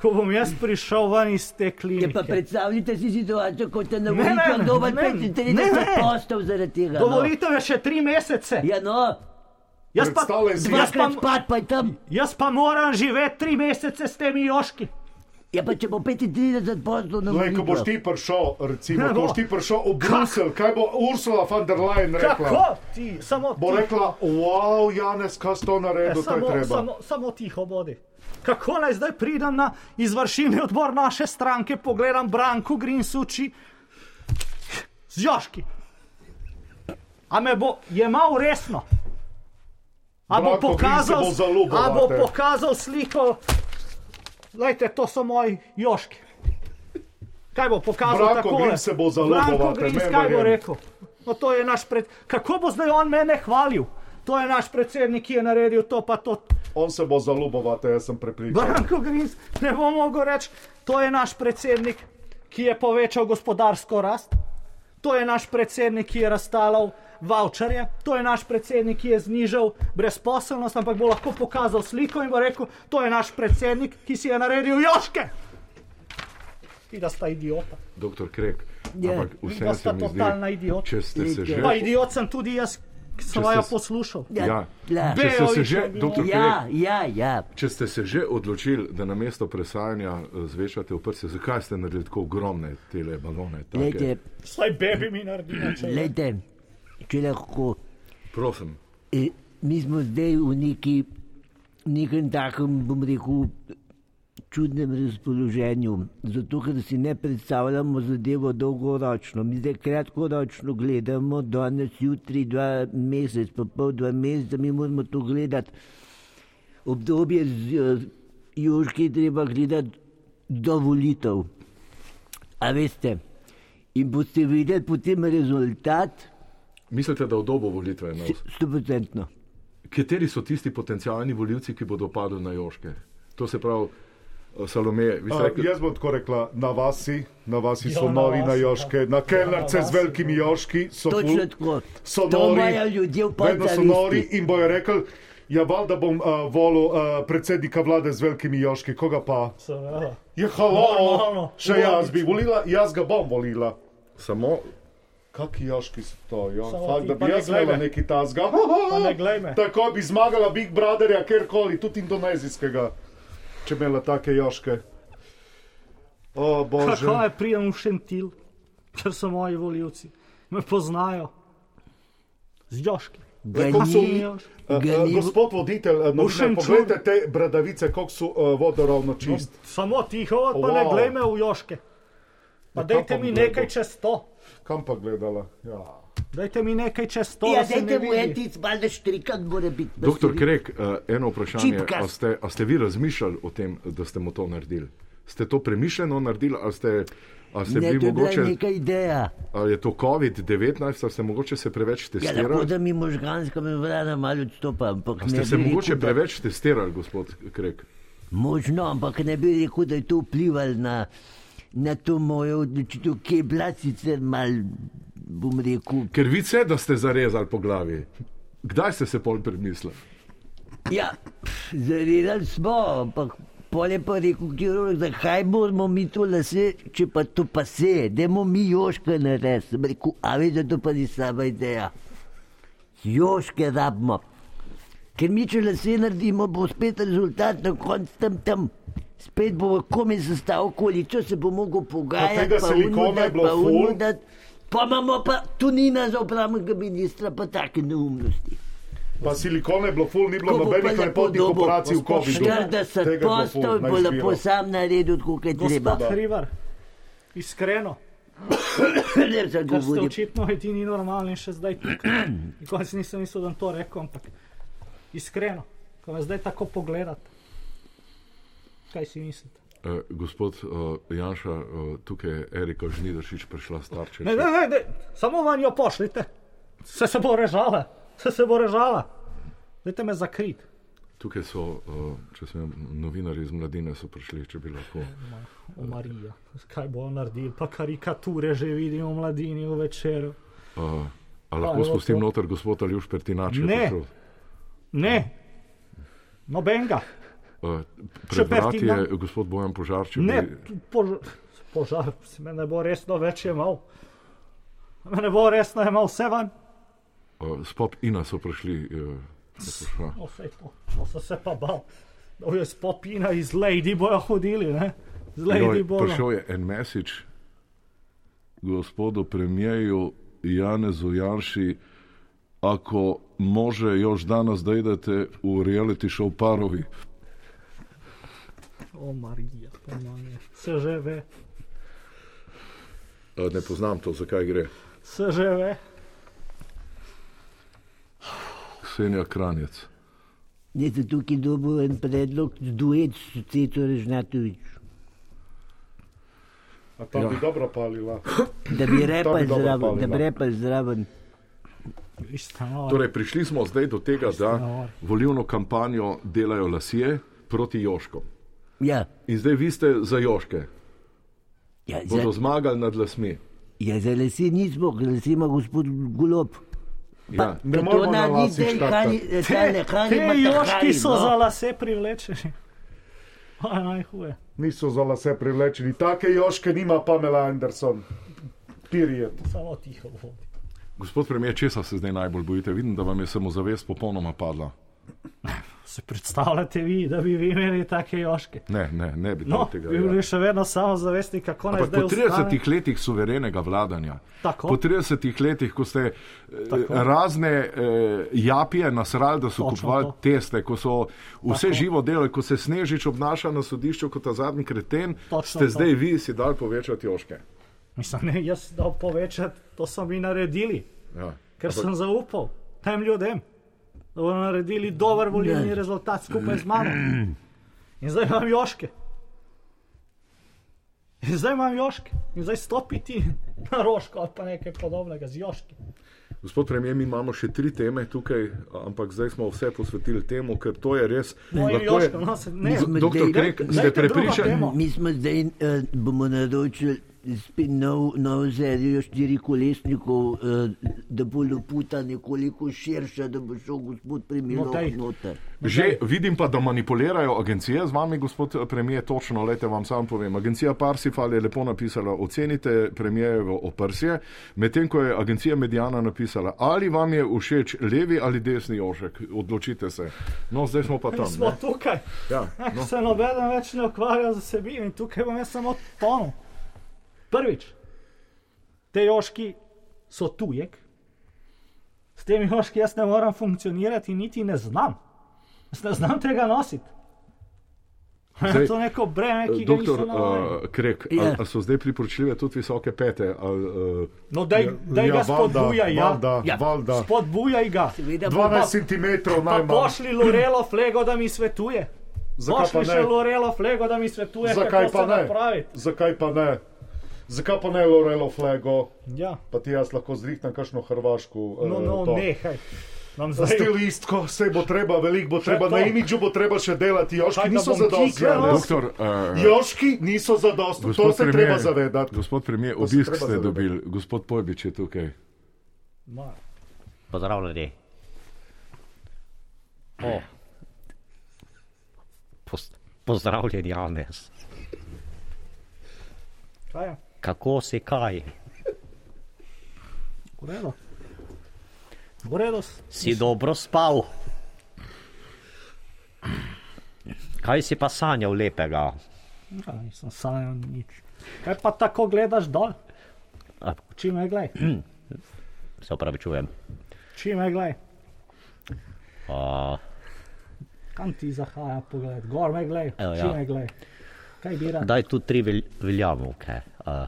ko bom jaz prišel ven iz te
Je Ja, pa
klinike.
predstavljate si situacijo, ko ste na
ja. Ne, ne,
volitvah
ne,
dober
ne, ne, ne.
35 postov zaradi tega. no.
Dovolite mi še tri mesece.
Ja, no,
Jaz pa,
Predstavljaj si-
jaz, pa,
Dvakrat pad, pa je tam.
jaz pa moram živeti tri mesece s temi joški.
Ja, pa če bo 35 poslov na
Lej, ko boš
volitve.
ti prišel, recimo,
Ne
ko
bo.
boš ti prišel v
Kak?
Bruselj, kaj bo Ursula von der Leyen rekla?
Kako ti, samo
Bo
ti.
rekla, wow, Janez, kaj si to
E,
naredil, to je
samo,
treba.
samo, samo tiho bodi. Kako naj zdaj pridem na izvršilni odbor naše stranke, pogledam Branko Grinsuči z Joški. A me bo jemal resno? A bo
Branko Grims
pokazal,
se bo zaljubil
a bo
vate.
pokazal sliko? Lejte, to so moji Joški. Kaj bo pokazal?
Branko
takole?
Grims se bo zaljubil
Branko
vate,
Grims,
ne
kaj bo
verjamem.
rekel? No, to je naš pred... Kako bo zdaj on mene hvalil? To je naš predsednik, ki je naredil to, pa to.
On se bo zaljubovate, jaz sem prepričan.
Branko Grims, ne bom mogel reči, to je naš predsednik, ki je povečal gospodarsko rast, to je naš predsednik, ki je razstalal voucherje, to je naš predsednik, ki je znižal brezposelnost, ampak bo lahko pokazal sliko in bo rekel, to je naš predsednik, ki si je naredil joške. Ti da sta idiota.
Doktor Krek,
Ja,
ampak vse
da
se
sta
mi zdi,
totalna idiota.
če ste se že...
Pa idiot sem tudi jaz, ki sem
Če ste
jo
s-
poslušal.
Ja.
Ja,
Če ste se
Bejović
že,
je bil.
doktor Krek,
ja, ja, ja.
Če ste se že odločili, da na mesto presajanja eh, zvečate v prste, zakaj ste naredili tako ogromne tele balone? take?
Lejte,
Saj bebi mi naredi nekaj.
lejte, če lahko.
Prosim,
E, mi smo zdaj v neki, nekem takem, bom rekel, čudnem razpoloženju, zato ker si ne predstavljamo zadevo dolgoročno. Mi zdaj kratkoročno gledamo, danes, jutri, dva mesec, pa pol dva meseca, mi moramo to gledati. Obdobje z eh, Južki je treba gledati do volitev. A veste, in boste videli potem rezultat,
mislite, da v dobo volitve na vse?
stopodcentno.
Kateri so tisti potencijalni volivci, ki bodo padli na Joške? To se pravi, eh, Salome, vi ste
Uh,
rekli,
jaz bom tako rekla, na vasi, na vasi
Ja,
so
na
novi
vasi,
na
ja.
joške, na kelnerce
Ja, na
z
vasi,
velikimi joški, so
Točno
ful-
tako.
so
To
nori,
imajo ljudje v
vedno so nori
podzavisti.
in bojo rekli, ja, valjda bom uh, volil uh, predsednika vlade z velikimi joški, koga pa?
Seveda.
Je halo,
Normalno,
še jaz bi volila, jaz ga bom volila.
samo
Kaki joški so to, jo,
Samo
fakt,
ti
da
pa
bi
ne
jaz
glej
imela
me.
neki tasga.
Pa ne glej me.
Tako bi zmagala Big Brotherja, kjerkoli, tudi indonezijskega, če imela take joške. O, bože.
Kako je prijem v Šentil, ker so moji voljivci, me poznajo z Joški.
Ga
Kako so
ni-
mi- Eh, eh,
ga ni-
Gospod voditelj, eh, novinar,
Ušen
poglejte te bradavice, kako so uh,
No.
vodoravno čist.
Samo tiho, pa wow. ne
Wow.
glej me v Joške. Pa
Ja,
dajte
kam
mi
bom gledal?
nekaj čez to.
Kam pa gledala? Ja.
Dajte mi nekaj čez to.
Ja,
da se
zdaj te
ne
mu
vidi.
en tic, malo štrikat mora biti. da se
Doktor
vidi.
Krek, eh, eno vprašanje.
Čipkast.
A ste, a ste vi razmišljali o tem, da ste mu to naredili? Ste to premišljeno naredili, ali ste, ali ste
Ne,
bili
to je bila
mogoče,
neka ideja.
ali je to COVID-19, ali ste mogoče se preveč
Ja, lahko
testirali?
da mi možganska membrana malo odstopa, ampak
A
ne
ste se
bi
mogoče
rekel, da-
preveč testirali, gospod Krek?
Možno, ampak ne bi rekel, da je to vplivalo na, na to mojo odločitev, ki je bila sicer mal, bom rekel.
Ker vidite, da ste zarezali po glavi. Kdaj ste se pol premislili?
Ja, zaredali smo, ampak pole pa je rekel, kirurg, zakaj moramo mi to lase, če pa to pa se, dajmo mi joške narediti. Sem Rekel, a veš, da to pa ni slaba ideja. Joške rabimo. Ker mi, če lase naredimo, bo spet rezultat na koncu tam tam. Spet bo komaj sestavil količo, se bo mogel pogajati.
tega
pa
silikona
unu
je
dati,
bilo
pa unu
ful.
dati. Pa imamo pa Tunina za obramnega ministra, pa take neumnosti.
Pa silikone je bilo ful, ni bilo
Ko bo pa
nobenih
lepo
lepotnih
dobil.
operacij v COVID-u. Tega je
40
bilo ful,
postov
na
bo lepo
izbiro.
sam naredil, kot je treba.
Gospod Hribar, iskreno,
Ne
ker ste
zagovorim.
očitno edini normalni še zdaj tukaj. Nikoli si nisem mislil, da bom to rekel, ampak iskreno, ko me zdaj tako pogledate, kaj si mislite?
Uh, gospod uh, Janša, uh, tukaj je Erika Žnidaršič prišla starče.
Ne, ne, ne, ne, samo vam jo pošljite. Se se bo režala, se se bo režala. Dajte me zakrit.
Tukaj so, uh, če sem novinari iz mladine, so prišli, če bi lahko.
O Marija, kaj bo naredil, pa karikature že vidimo v mladini v večeru.
Uh, a
Pa,
lahko
evo
spustim
to.
noter gospoda Ljuš Pertinače?
Ne. Ne, nobenega,
Uh, pred
Pertinan-
vrati je gospod Bojan Požarček.
ne, tu pož požar, se me ne bo resno več imel. Me ne bo resno imel vse van.
eh, Uh, spop Ina so prišli. Uh, prišla.
No, saj to, to sem se pa bal. No, Da bojo iz popina, iz Lady bojo hodili, ne? Z Lady
Joj,
bojo.
Prišel je en mesič gospodu premijeju Janezu Janši, ako može još danas da idete u reality show parovi.
O, Marija, pomanje. Se že ve,
E, Ne poznam to, zakaj gre.
se že ve.
Ksenija Kranjec.
Jaz sem tukaj dobil en predlog, duet s Ceto Režnatovič,
A ta bi dobro palila.
da bi repal
dobro
zraven, da
palila.
bi repal zraven.
Isto, no,
Torej, prišli smo zdaj do tega, da
navor.
volivno kampanjo delajo lasje proti Joškom.
Ja,
In zdaj vi ste za Joške,
ja,
bodo
za,
zmagali nad lasmi.
ja, za lase nismo, ker lase ima gospod Golob.
Ja.
Ne moremo na vas ištakati.
Te, te joški
no.
so
no.
za lase privlečeni. Pa najhuje.
Niso za lase privlečeni. Take joške nima Pamela Anderson. Period.
Samo tiho vodi.
Gospod premijer, česa se zdaj najbolj bojite? Vidim, da vam je samozavest popolnoma padla.
Se predstavljate vi, da bi vi imeli take joške?
Ne, ne, ne bi
No,
dal tega.
vi
ja.
bili še vedno samozavestni, kako naj
Ampak
zdaj
po 30
ustane.
letih suverenega vladanja,
Tako.
po 30 letih, ko ste eh,
Tako.
razne eh, japije nasrali, da so
Točno
kupovali
to.
teste, ko so vse
Tako.
živo delali, ko se Snežič obnaša na sodišču kot ta zadnji kreten,
Točno
ste
to.
zdaj vi si dal povečati joške.
Mislim, ne, jaz dal povečati, to so mi naredili,
Ja.
ker sem zaupal tem ljudem, da bodo naredili dober volilni
Ne.
rezultat skupaj z mano. In zdaj imam joške. In zdaj imam joške. In zdaj stopiti na roško ali pa nekaj podobnega z joški.
Gospod premijer, mi imamo še tri teme tukaj, ampak zdaj smo vse posvetili temu, ker to je res.
Mojim
lahko je-
joškom, no, se ne.
Mislim,
Doktor
Dejte-
Krek,
dejte
ste
drugo
prepričani?
temo.
Mi smo zdaj, eh, bomo naročili spet nov, novo serijo štiri kolesnikov, eh, da bo loputa nekoliko širša, da bo šel gospod Premilo
Motej.
noter.
Že vidim pa, da manipulirajo agencije z vami, gospod premijer, točno, lete vam sam povem. Agencija Parsifal je lepo napisala, ocenite premijejevo oprsje, medtem ko je agencija Medijana napisala, ali vam je všeč levi ali desni ošek, odločite se. No, zdaj smo pa tam.
Smo
ne.
tukaj.
Ja,
No.
no.
Se noben več ne ukvarja z sebi in tukaj bom jaz samo tonil. Prvič, te joški so tujek, s temi joški jaz ne morem funkcionirati, niti ne znam. Jaz ne znam tega nositi. Zdaj,
Zdaj,
to je neko breme, ki ga
Doktor
nisem navajen.
uh, Krek,
Ja.
yeah. a, a so zdaj priporočljive tudi visoke pete? A, uh,
No, daj, daj ga spodbujaj, ja.
Ja, Valda,
Ja.
valda.
Spodbujaj ga.
Seveda bo
12
pa-
cm
Pa
najmanj.
pošli Lorelo Flego, da mi svetuje.
Zakaj
Pošli
pa
še
ne?
Lorelo Flego, da mi svetuje,
Zakaj
kako
pa
se
ne?
napraviti.
Zakaj pa ne? Zakaj pa ne Lorelo Flego?
Ja.
Pa ti jaz lahko zrihtam kakšno hrvaško. eh,
No, no,
to.
nehaj. Nam
Za
zdaj
stilistko se bo treba, veliko bo treba,
to?
na imidžu bo treba še delati. Joški
Kaj, da
niso
bom
zadosti.
kiknil?
Janez.
doktor, uh,
Joški niso zadosti, to se treba zavedati.
Gospod premijer,
se
obisk
treba
ste
zavedati.
dobili, gospod Pojbič je tukaj.
Ma,
Pozdravljeni. O. Poz- Pozdravljen, Janez.
Kaj je?
Kako si kaj?
V redu. V redu. s-
Si dobro spal? Kaj si pa sanjal lepega?
Ja, nisem sanjal nič. Kaj pa tako gledaš dol?
A,
Či me glej,
se opravičujem.
či me glej.
A,
Kam ti zahaja pogled? Gor me glej,
Evo,
či
ja.
me glej. Kaj bi rad?
daj tu tri vel, veljavke. A,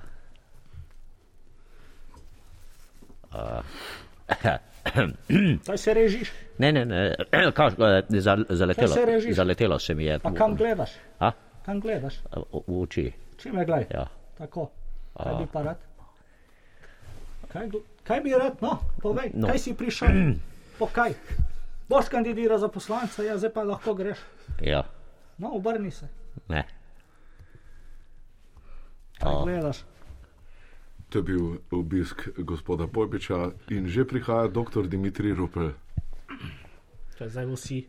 Kaj se režiš?
ne, ne, ne, kaž, e, za, zaletelo,
se režiš?
zaletelo se mi je.
Pa kam gledaš?
A,
Kam gledaš?
v, v oči.
Či me glej?
Ja.
Tako. Kaj bi pa rad? Kaj, gl- kaj bi rad? No, povej,
No.
no. kaj si prišel? Po kaj? Boš kandidiral za poslanca, ja, zdaj pa lahko greš.
Ja,
No, obrni se.
ne.
Kaj gledaš?
To je bil obisk gospoda Pojbiča in že prihaja dr. Dimitrij Rupel. Eh,
Če zdaj vsi.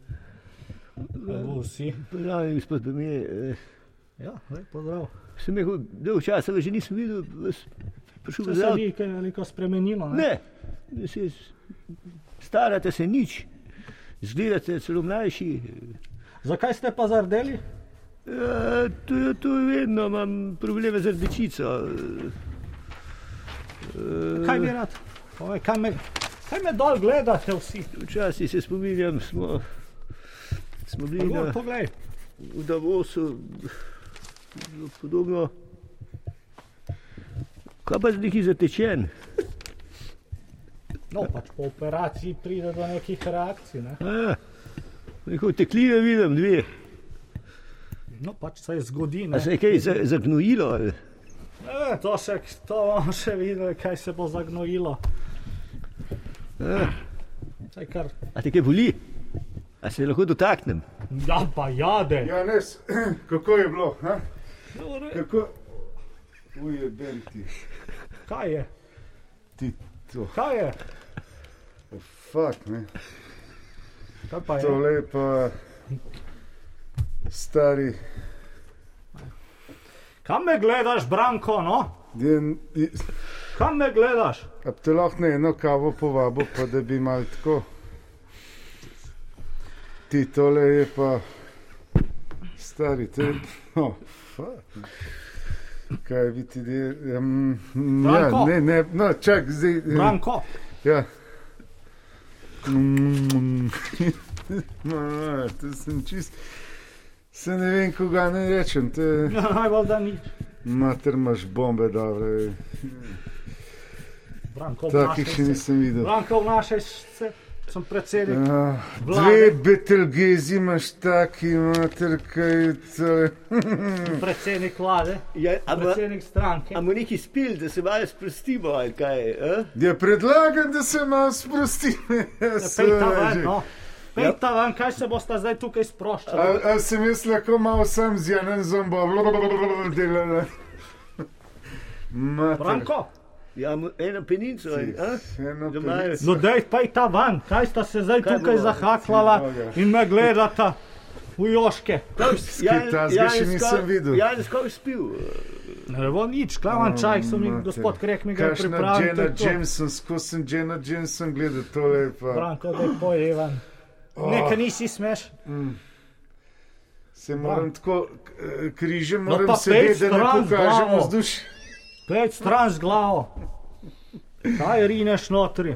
Zdaj bo vsi.
Pravi gospod Premilo, eh,
Ja, zdaj pozdrav.
sem rekel, dolgo časa vas že nisem videl, vas prišel
Če se
pozdraviti.
ni kaj veliko spremenilo, ne?
Ne, se s- starate se nič.
Zgledate celo mlajši.
Zakaj ste pa zardeli?
Ja, to, je- to je vedno, imam probleme z rdečico.
Kaj bi rad? Ove, kaj, me, kaj me dol gledate vsi?
Včasih se spominjam, smo, smo bili
Gor,
na,
poglej.
v Davosu, zelo podobno. Kaj pa zdaj, ki je zatečen?
No, pač po operaciji pride do nekih reakcij. Ne?
A, Neko tekline Eh, vidim, dve.
No, pač se zgodi.
A
Ne?
se je kaj za- zagnojilo? ali?
E, to, se, to bomo še videli, kaj se bo zagnojilo.
A,
Saj Kar,
a te kaj boli? A se lahko dotaknem?
ja, pa jade.
Ja, ne, kako je bilo? Ha?
Dobro,
Kako? Ujeben ti.
Kaj je?
Ti to.
Kaj je?
Fak, ne.
Kaj pa je?
Tole je pa stari.
Kam me gledaš, Branko? No?
Je, je,
Kam me gledaš?
a bi te lahko na eno kavo povabo, pa da bi mal tako. Ti tole je pa stari, te. No, fak. ne. Kaj bi ti del? Um, ja,
Branko.
ne, ne, no, čak, zdaj. em,
Branko,
Ja. Mm. No, to sem čist. Se ne vem, koga ne rečem. Te
Ja, najbolj da ni.
mater imaš bombe, dobre.
Branko,
Takih še
obnašaj se.
nisem videl.
Branko, vnašaj se. Sem predsednik.
Ja,
Vlade.
dve betelgezi imaš taki, mater, kaj je.
predsednik vlade,
Ja,
predsednik stranke.
Amo neki spil, da se malo sprostimo, ali kaj? Eh?
Ja, predlagam, da se malo sprosti. Ja,
Pejta
seveda
ven,
že.
no. Pejta ven, kaj se boste zdaj tukaj sproščali?
A, a sem jaz lahko malo sam z Janem Zombo, blablabla, delala. Mater.
Branko,
Ja, mo- eno penico. ali, eh?
Eno
Da imajo-
penico.
no dej, pejta ven, kaj sta se zdaj
Kaj
tukaj
bo?
zahaklala
Boga.
in me gledata v joške.
Jan-
tazga še
Janez
nisem
Kov-
videl.
Janez Kov spil.
Ne bo nič, klavan čaj, sem jim
Mater.
gospod Krek mi ga je
Kakšna
pripravil. to
Jenna
je to.
Jameson, skozi sem Jenna Jameson gledal, tole je pa.
Branko, dej pojdi ven. Nekaj nisi smeš.
Se moram tako eh, križem,
No
moram
pa
sedeti,
pej
da ne
stran
pokažem
glavo.
vzdušje.
Pejt stran z glavo. Kaj rineš notri?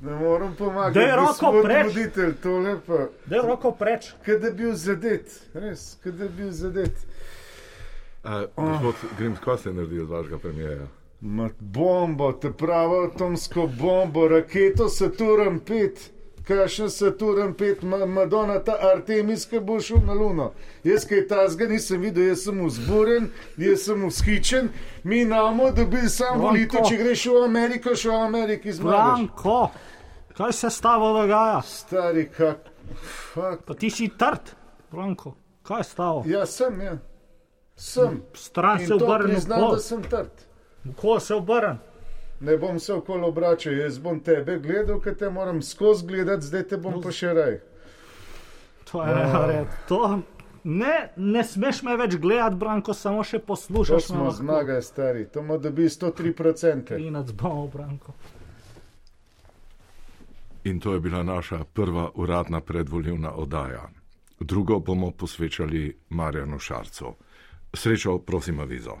Ne moram pomagati.
Daj roko
gospod
preč.
Voditelj, tole pa.
Dej roko preč.
Kaj da bi bil zadet, res, kaj da bi bil zadet.
Eh, Gospod Grims, kaj ste naredili od vašega premijeja?
Ma bombo, te pravo atomsko bombo, raketo Saturn 5, kakšen Saturn 5, ma, Madonna, ta Artemis, ki bo šel na Luno. Jaz kaj tazga nisem videl, jaz sem vzburen, jaz sem vzhičen, mi namo dobili sam
Branko.
volitev, če greš v Ameriko, še v Ameriki zmagaš.
Branko, kaj se s tabo dogaja?
Stari, kak, fakt.
Pa ti si trd, Branko, kaj je stalo?
Ja, sem, ja, sem.
Stran Ja, se
In to
obrne,
priznam, da sem trd.
ko se obrne.
Ne bom se okolo obračal, jaz bom tebe gledal, ker te moram skozi gledati, zdaj te bom pa še raj.
To je oh. red. To ne, ne smeš me več gledati, Branko, samo še
To
poslušaš.
smo zmagali, stari, to ima dobi 103%.
Klinac bomo, Branko.
In to je bila naša prva uradna predvoljivna oddaja. Drugo bomo posvečali Marjanu Šarcu. Srečo, prosim, avizo.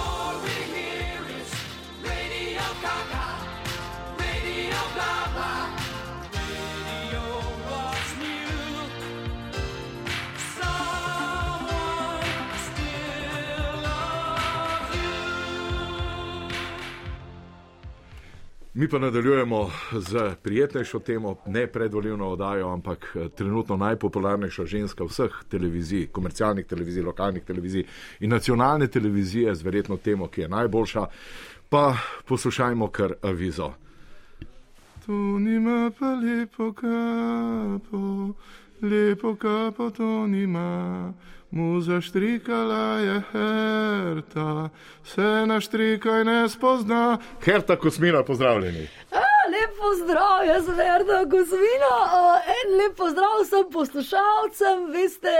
All we hear is Radio Gaga, Radio Gaga. Radio was new. Someone still loves
Mi pa nadaljujemo z prijetnejšo temo, ne predvoljivno oddajo, ampak eh, trenutno najpopularnejša ženska vseh televizij, komercialnih televizij, lokalnih televizij in nacionalne televizije, z verjetno temo, ki je najboljša. Pa poslušajmo kar avizo. Tu nima pa lepo kapo, lepo kapo to nima. Mu zaštrikala je herta, se naštrika in ne spozna. Herta Kosmina, pozdravljeni.
Ja, Lep pozdrav, jaz sem Erna Kozmina. Uh, en lep pozdrav vsem poslušalcem. Veste,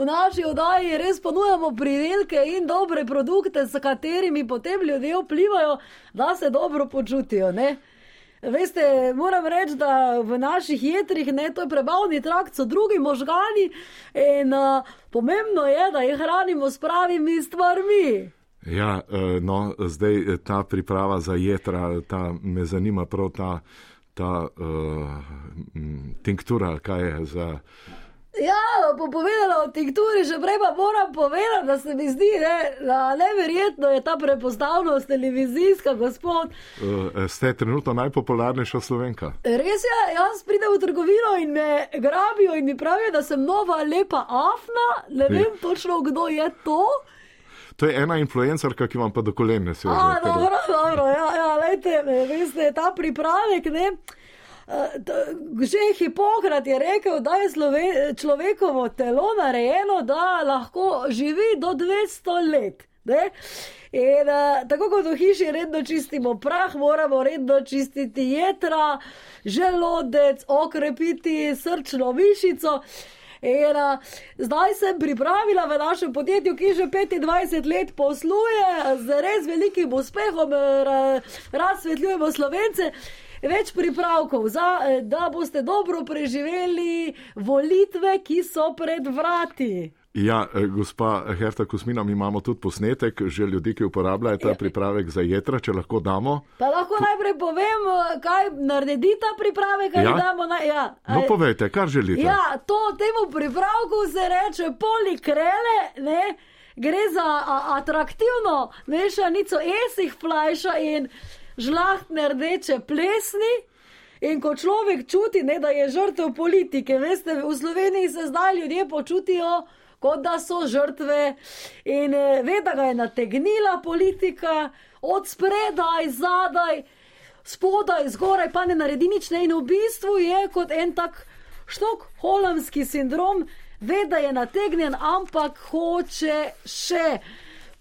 v naši oddaji res ponujamo pridelke in dobre produkte, s katerimi potem ljudje vplivajo, da se dobro počutijo. Ne? Veste, moram reči, da v naših jedrih, ne, to je prebavni trakt, so drugi možgani in uh, pomembno je, da jih hranimo s pravimi stvarmi.
Ja, eh, no, zdaj eh, ta priprava za jedra, ta, me zanima prav ta, ta uh, tinktura, ali kaj je za.
Ja, bom povedala o tinkturi, že prej pa moram povedati, da se mi zdi, ne, da neverjetno je ta prepoznavnost televizijska, gospod.
Uh, ste trenutno najpopularnejša slovenka.
Res je, jaz pridem v trgovino in me grabijo in mi pravijo, da sem nova lepa afna, ne vem točno, kdo je to.
To je ena influencerka, ki vam pa do kolen ne seže.
A,
ker-
dobro, dobro, ja, ja, lejte, veste, ta pripravek, ne. eh, t- Že Hipokrat je rekel, da je slove, človekovo telo narejeno, da lahko živi do 200 let. Ne? In uh, tako kot v hiši redno čistimo prah, moramo redno čistiti jedra, želodec, okrepiti srčno mišico. In, a, zdaj sem pripravila v našem podjetju, ki že 25 let posluje z res velikim uspehom, eh, ra- razsvetljujemo slovence. Več pripravkov, za, eh, da boste dobro preživeli volitve, ki so pred vrati.
Ja, eh, gospa Herta Kosmina, mi imamo tudi posnetek, že ljudi, ki uporabljajo
Ja.
ta pripravek za jedra, če lahko damo.
Pa lahko najprej povem, eh, kaj naredi ta pripravek, kaj
Ja?
ja? damo na. Ja,
No,
eh,
povejte, kar želite.
Ja, to temu pripravku se reče polikrele, ne? gre za a, atraktivno mešanico esih flajša in žlahtne rdeče plesni. In ko človek čuti, ne, da je žrtev politike, veste, v Sloveniji se zdaj ljudje počutijo, kot da so žrtve in eh, ve, da ga je nategnila politika od spredaj, zadaj, spodaj, zgoraj, pa ne naredi nič. Ne. In v bistvu je kot en tak štokholmski sindrom, ve, da je nategnjen, ampak hoče še.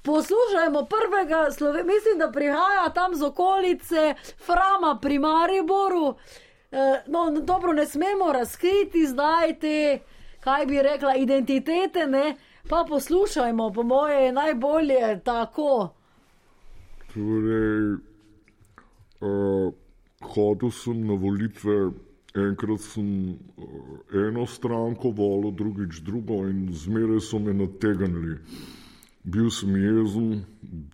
Poslušajmo prvega, Slove... mislim, da prihaja tam z okolice Frama pri Mariboru. Eh, No, no, dobro, ne smemo razkriti zdaj te, kaj bi rekla, identitete, ne? pa poslušajmo, po moje je najbolje tako.
Torej, uh, hodil sem na volitve, enkrat sem uh, eno stranko volil, drugič drugo in zmeraj so me nategnili. Bil sem jezen,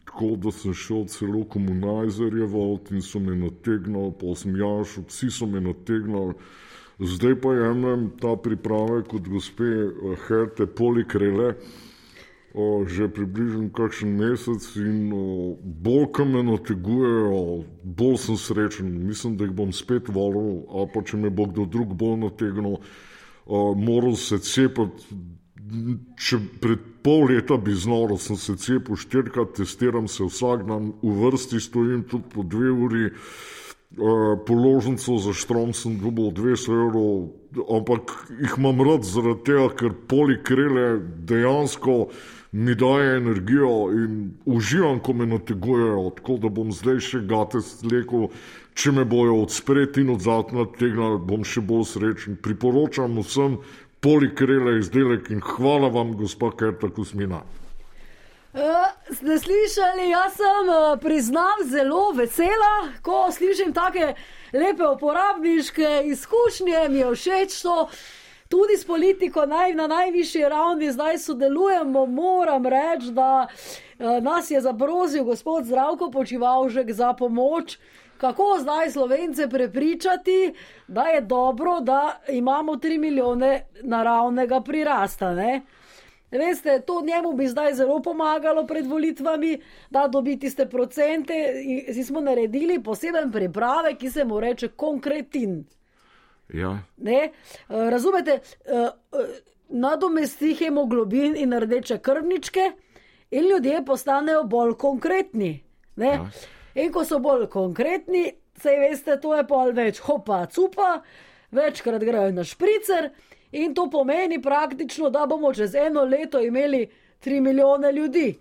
tako da sem šel celo komunizerje volt in so me nategnili, pa sem jaš, vsi so me nategnili. Zdaj pa jemljem ta pripravek od gospe eh, Herte Polikrele. O, že približno kakšen mesec in o, bolj, ko me nategujejo, bolj sem srečen. Mislim, da jih bom spet valil, a pa če me bo kdo drug bolj nategnil, o, moral se cepiti. Če pred pol leta bi znal, sem se cepil štirikrat, testiram se vsak dan, v vrsti stojim tudi po dve uri. Eh, položnico za štrom sem dobil 200 evrov, ampak jih imam rad zaradi tega, ker polikrele dejansko mi daje energijo in uživam, ko me nategujejo. Tako da bom zdaj še gatec lekel, če me bojo od spred in od zad nategnili, bom še bolj srečen. Priporočam vsem polikrele izdelek in hvala vam, gospa Kerta Kusmina.
Eh, Ste slišali, jaz sem, eh, priznam, zelo vesela, ko slišim take lepe uporabniške izkušnje, mi je všeč to. Tudi s politiko naj, na najvišji ravni zdaj sodelujemo. Moram reči, da eh, nas je zaprosil gospod Zdravko Počivalžek za pomoč. Kako zdaj slovence prepričati, da je dobro, da imamo 3 milijone naravnega prirasta? Ne? Veste, to njemu bi zdaj zelo pomagalo pred volitvami, da dobi tiste procente. In si smo naredili poseben pripravek, ki se mu reče konkretin.
Ja,
Ne? Eh, Razumete, eh, eh, nadomesti hemoglobin in rdeče krvničke, in ljudje postanejo bolj konkretni. Ja. In ko so bolj konkretni, sej veste, to je pol več hopa, cupa, večkrat grejo na špricer, in to pomeni praktično, da bomo čez eno leto imeli 3 milijone ljudi.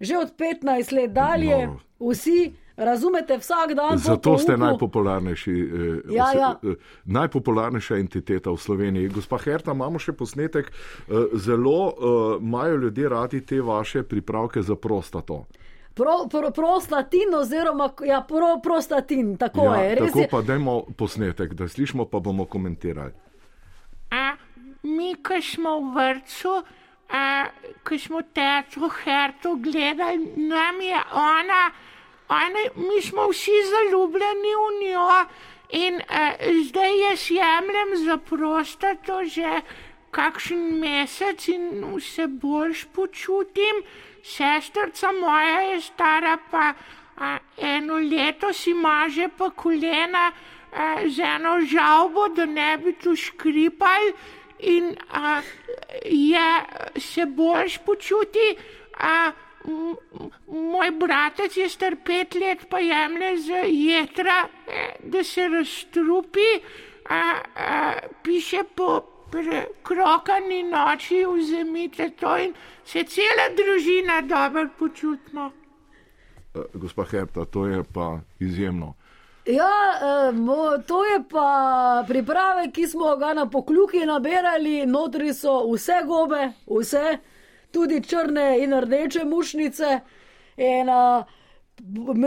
Že od 15 let dalje,
No.
vsi Razumete, vsak dan. po
Zato ste
pouku-
najpopularnejši, eh,
Ja,
ose-
ja.
eh, najpopularnejša entiteta v Sloveniji. Gospa Herta, imamo še posnetek. eh, Zelo eh, imajo ljudje radi te vaše pripravke za prostato.
Pro, pro, prostatin, oziroma ja, pro, prostatin, tako ja, je. Res
tako
je.
pa dajmo posnetek, da slišimo, pa bomo komentirali.
A, mi, ko smo v vrtu, a, ko smo teatro Herto gledali, nam je ona, ona, mi smo vsi zaljubljeni v njo in a, zdaj jaz jemljem za prostato že kakšen mesec in vse boljš počutim. Sestrca moja je stara pa a, eno leto si maže pa kolena eh, z eno žalbo, da ne bi tu škripal in a, je, se boljš počuti. A, m- m- moj bratec je star pet let, pa jemlje z jedra, eh, da se razstrupi, a, a, piše po pre- krokani noči, vzemite to in se cela družina dobro počutimo.
Eh, Gospa Herta, to je pa izjemno.
Ja, eh, mo- to je pa priprave, ki smo ga na pokljuki nabirali, notri so vse gobe, vse, tudi črne in rdeče mušnice. In, eh, a,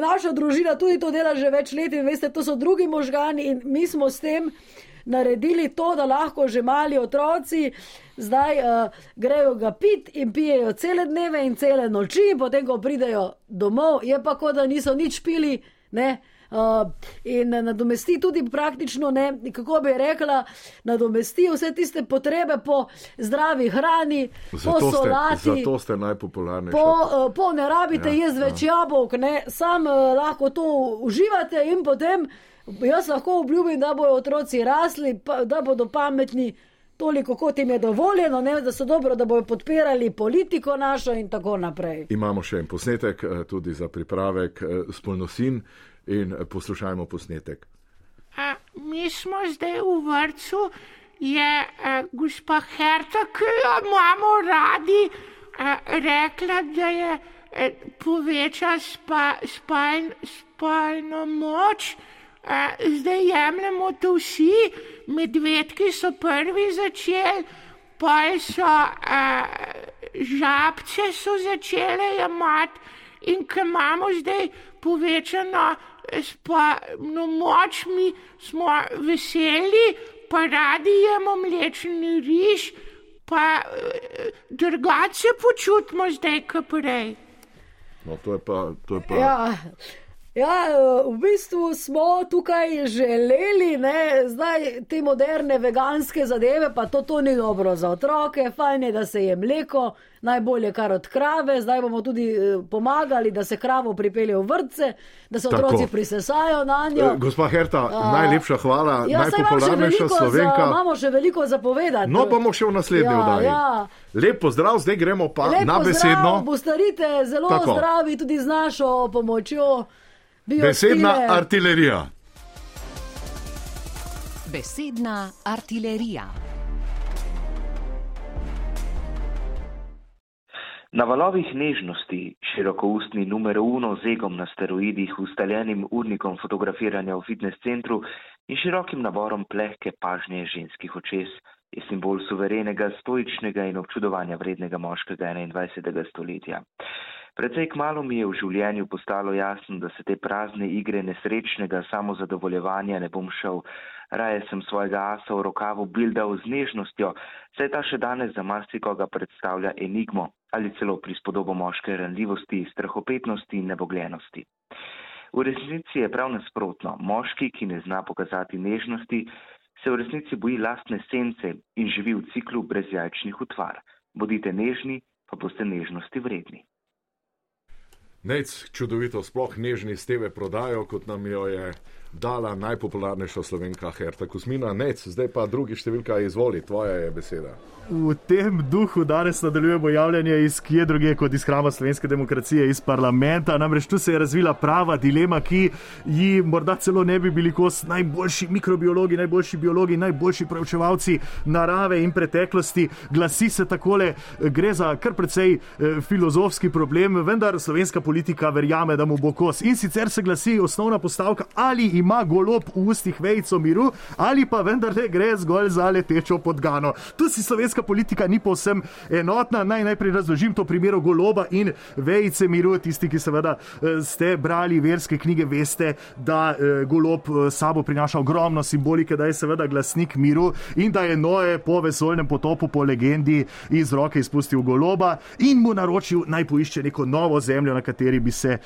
naša družina tudi to dela že več let in veste, to so drugi možgani in mi smo s tem. Naredili to, da lahko že mali otroci zdaj uh, grejo ga pit in pijejo cele dneve in cele noči, in potem, ko pridejo domov, je pa kot da niso nič pili, ne, Uh, in nadomesti tudi praktično, ne, kako bi rekla, nadomesti vse tiste potrebe po zdravi hrani, po
Zato ste,
solati.
zato ste najpopularnejši.
Po, eh, po ne rabite
Ja,
ja,
jaz več jabolk, ne, sam eh, lahko to uživate in potem jaz lahko obljubim, da bodo otroci rasli, pa, da bodo pametni toliko, kot jim je dovoljeno, ne, da so dobro, da bodo podpirali politiko našo in tako naprej.
Imamo še en posnetek, eh, tudi za pripravek eh, spolnosin in eh, poslušajmo posnetek.
A, mi smo zdaj v vrtu, je a, gospa Herta, ki jo imamo radi, a, rekla, da je a, poveča spa, spaln, spalno moč. A, zdaj jemljemo to vsi, medvedki so prvi začeli, pa so a, žabce so začele jemati in ker imamo zdaj povečano spalno moč, mi smo veseli, pa radi jemo mlečni riž, pa eh, drugače se počutimo zdaj, kot prej.
No, to je pa. To je pa
Ja. Ja, eh, v bistvu smo tukaj želeli, ne, zdaj te moderne veganske zadeve, pa to, to ni dobro za otroke, fajn je, da se je mleko, najbolje kar od krave, zdaj bomo tudi eh, pomagali, da se kravo pripelje v vrtce, da se
Tako.
otroci prisesajo na njo.
Eh, Gospa Herta,
A,
najlepša hvala,
Ja, saj imam še
najpopularnejša
veliko za-
slovenka.
Imamo še veliko zapovedati.
No, bomo še v naslednji
Ja,
oddaji.
ja.
Lep pozdrav, zdaj gremo pa
Lep
na
pozdrav,
besedno.
Postarite zelo
Tako.
Tako. zdravi tudi z našo pomočjo. Biostile.
Besedna artilerija.
Besedna artilerija.
Na valovih nežnosti, širokoustni numero uno z egom na steroidih, ustaljenim urnikom fotografiranja v fitness centru in širokim naborom plehke pažnje ženskih očes je simbol suverenega, stoičnega in občudovanja vrednega moškega 21. stoletja. Predvsej kmalo mi je v življenju postalo jasno, da se te prazne igre nesrečnega samozadovoljevanja ne bom šel. Raje sem svojega asa v rokavu bildal z nežnostjo, saj ta še danes za marsikoga predstavlja enigmo ali celo prispodobo moške ranljivosti, strahopetnosti in nebogljenosti. V resnici je prav nasprotno. Moški, ki ne zna pokazati nežnosti, se v resnici boji lastne sence in živi v ciklu brezjajčnih utvar. Bodite nežni, pa boste nežnosti vredni.
Nec čudovito, sploh nežni steve prodajo, kot nam jo je dala najpopularnejša slovenka Herta Kuzmina, nec, zdaj pa drugi številka, izvoli, tvoja je beseda.
V tem duhu danes nadaljujemo javljanje iz kje druge kot iz hrama slovenske demokracije, iz parlamenta. Namreč tu se je razvila prava dilema, ki ji morda celo ne bi bili kos najboljši mikrobiologi, najboljši biologi, najboljši preučevalci narave in preteklosti. Glasi se takole, gre za kar precej eh, filozofski problem, vendar slovenska politika verjame, da mu bo kos. In sicer se glasi osnovna postavka, ali ima golob v ustih vejico miru, ali pa vendar ne gre zgolj za letečo podgano. Tu si slovenska politika ni povsem enotna. Naj najprej razložim to primer goloba in vejice miru. Tisti, ki seveda eh, ste brali verske knjige, veste, da eh, golob eh, sabo prinaša ogromno simbolike, da je seveda glasnik miru in da je Noe po vesolnem potopu, po legendi, iz roke izpustil goloba in mu naročil naj poišče neko novo zemljo, na kateri bi se eh,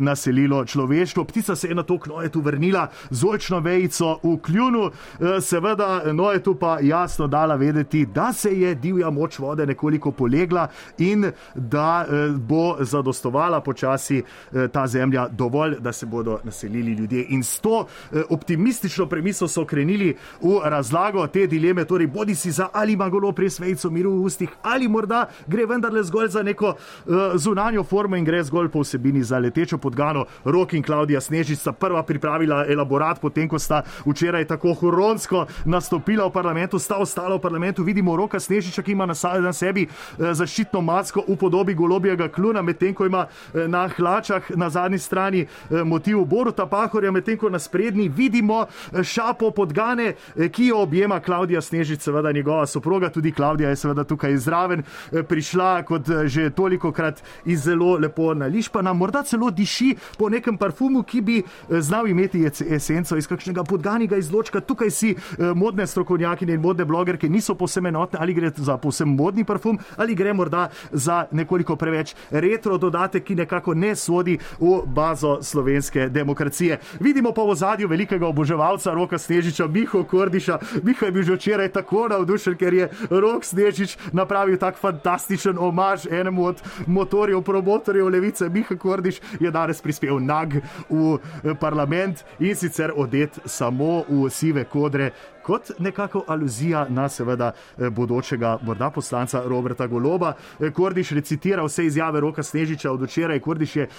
naselilo človeštvo. Ptica se je na to knoje tu vrnila z očno vejico v kljunu, eh, seveda Noe tu pa jasno dala vedeti, da se je divja moč vode nekoliko polegla in da eh, bo zadostovala počasi eh, ta zemlja dovolj, da se bodo naselili ljudje. In s to eh, optimistično premiso so krenili v razlago te dileme, torej bodi si za ali ima golo res vejco miru v ustih, ali morda gre vendarle zgolj za neko eh, zunanjo formo in gre zgolj po vsebini za letečo podgano. Rok in Klaudija Snežica prva pripravila elaborat, potem ko sta včeraj tako huronsko nastopila v parlamentu, sta ostala v parlamentu, vidimo roka Snežiča, ki ima na, sa- na sebi eh, zaščitno masko v podobi golobjega kljuna, medtem ko ima eh, na hlačah na zadnji strani eh, motiv Boruta Pahorja, medtem ko na sprednji vidimo eh, šapo podgane, eh, ki jo objema Klaudija Snežič, seveda njegova soproga, tudi Klaudija je seveda tukaj zraven eh, prišla, kot eh, že toliko krat iz zelo lepo nališpana, morda celo diši po nekem parfumu, ki bi eh, znal imeti ec- esenco iz kakšnega podganega izločka. Tukaj si eh, modne strokovnjakinje in modne blogerke niso povsem enotne, ali gre za povsem modni parfum, ali gre morda za nekoliko preveč retro dodatek, ki nekako ne sodi v bazo slovenske demokracije. Vidimo pa v zadju velikega oboževalca Roka Snežiča, Miho Kordiša. Miho je bil že včeraj tako navdušen, ker je Rok Snežič napravil tak fantastičen omaž enemu od motorjev, promotorjev levice. Miho Kordiš je danes prispel nag v eh, parlament in sicer odet samo v sive kodre kot nekako aluzija na seveda eh, bodočega morda poslanca Roberta Goloba. Eh, Kordiš recitira vse izjave Roka Snežiča od včeraj. Kordiš je eh,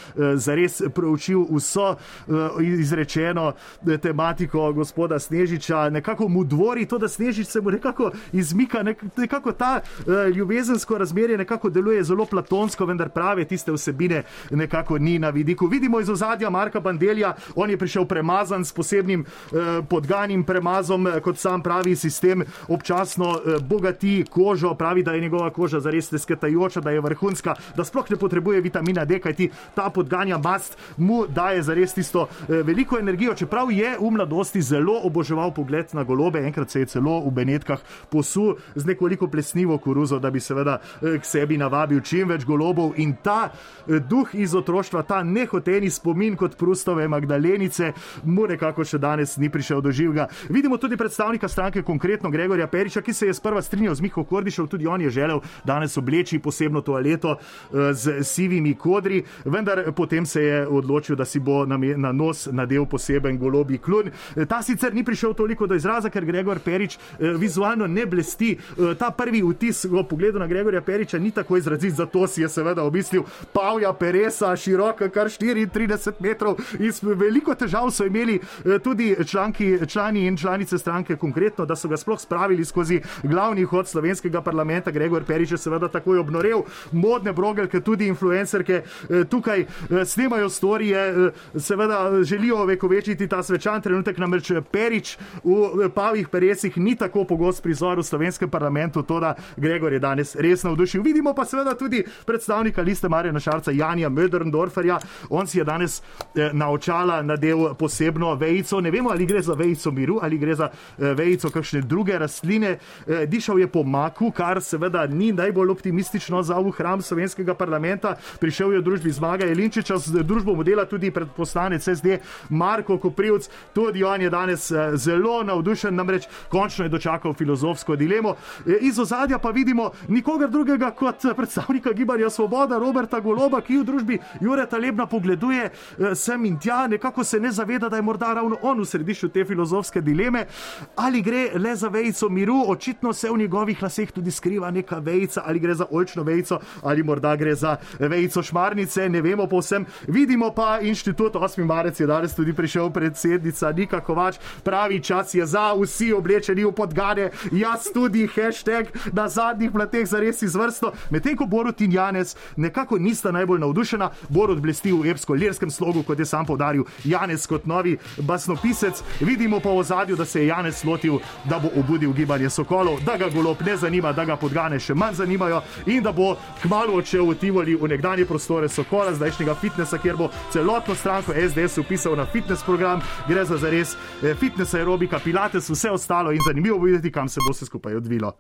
zares preučil vso eh, izrečeno eh, tematiko gospoda Snežiča, nekako mu dvori to, da Snežič se mu nekako izmika, nek, nekako ta eh, ljubezensko razmerje nekako deluje zelo platonsko, vendar prave tiste vsebine nekako ni na vidiku. Vidimo iz ozadja Marka Bandelja, on je prišel premazan s posebnim eh, podganim premazom, eh, kot sam pravi, sistem občasno eh, bogati kožo, pravi, da je njegova koža zares nesketajoča, da je vrhunska, da sploh ne potrebuje vitamina D, kajti ta podganja mast mu daje zares tisto eh, veliko energijo, čeprav je v mladosti zelo oboževal pogled na golobe, enkrat se je celo v Benetkah posul z nekoliko plesnivo koruzo, da bi seveda eh, k sebi navabil čim več golobov in ta eh, duh iz otroštva, ta nehoteni spomin kot Prustove Magdalenice, mu nekako še danes ni prišel do živega. Vidimo tudi predstavnika stranke, konkretno Gregorja Periča, ki se je sprva strinjal z Miho Kordišem, tudi on je želel danes obleči posebno toaleto eh, z sivimi kodri, vendar potem se je odločil, da si bo na, me- na nos nadel poseben golobi klun. Eh, Ta sicer ni prišel toliko do izraza, ker Gregor Perič eh, vizualno ne blesti. Eh, Ta prvi vtis v pogledu na Gregorja Periča ni tako izrazit, zato si je seveda omislil Pavla Peresa, široka kar 34 metrov. In s- veliko težav so imeli eh, tudi članki, člani in članice stranke, konkretno, da so ga sploh spravili skozi glavni hod slovenskega parlamenta. Gregor Perič je seveda takoj obnorel, modne brogelke, tudi influencerke eh, tukaj eh, snemajo storije, eh, seveda eh, želijo vekovečiti ta svečan trenutek, namreč Perič v eh, pavih peresih ni tako pogost prizor v slovenskem parlamentu, to da Gregor je danes res navdušil. Vidimo pa seveda tudi predstavnika liste Marjena Šarca, Janja Möderndorferja. On si je danes eh, na očala nadel posebno vejico. Ne vemo, ali gre za vejico miru ali gre za eh, eh, vejico kakšne druge rastline. Eh, Dišal je po maku, kar seveda ni najbolj optimistično za v hram slovenskega parlamenta. Prišel je v družbi Zmaga Jelinčiča, z družbo mu dela tudi predposlanec SD Marko Koprivc. Tudi on je danes eh, zelo navdušen, namreč končno je dočakal filozofsko dilemo. Eh, Iz ozadja pa vidimo nikogar drugega kot eh, predstavnika gibanja Svoboda, Roberta Goloba, ki v družbi Jureta Lebna pogleduje eh, sem in tja, nekako se ne zaveda, da je morda ravno on v središču te filozofske dileme, ali gre le za vejico miru, očitno se v njegovih laseh tudi skriva neka vejica, ali gre za oljčno vejico, ali morda gre za vejico šmarnice, ne vemo povsem. Vidimo pa inštitut 8. marec je danes tudi prišel predsednica Nika Kovač, pravi čas je za, vsi oblečeni v podgane, jaz tudi hashtag na zadnjih plateh za res izvrstno, medtem ko Borut in Janez nekako nista najbolj navdušena, Borut blesti v epsko-lirskem slogu, kot je sam povdaril Janez kot novi basnopisec. Vidimo pa v ozadju, da se je Janez lotil, da bo obudil gibanje Sokolov, da ga golob ne zanima, da ga podgane še manj zanimajo in da bo kmalo odšel v Tivoli v nekdanje prostore Sokola, zdajšnjega fitnesa, kjer bo celotno stranko SDS upisal na fitness program. Gre za zares eh, fitness aerobika, pilates, vse ostalo in zanimivo bo videti, kam se bo vse skupaj odvilo.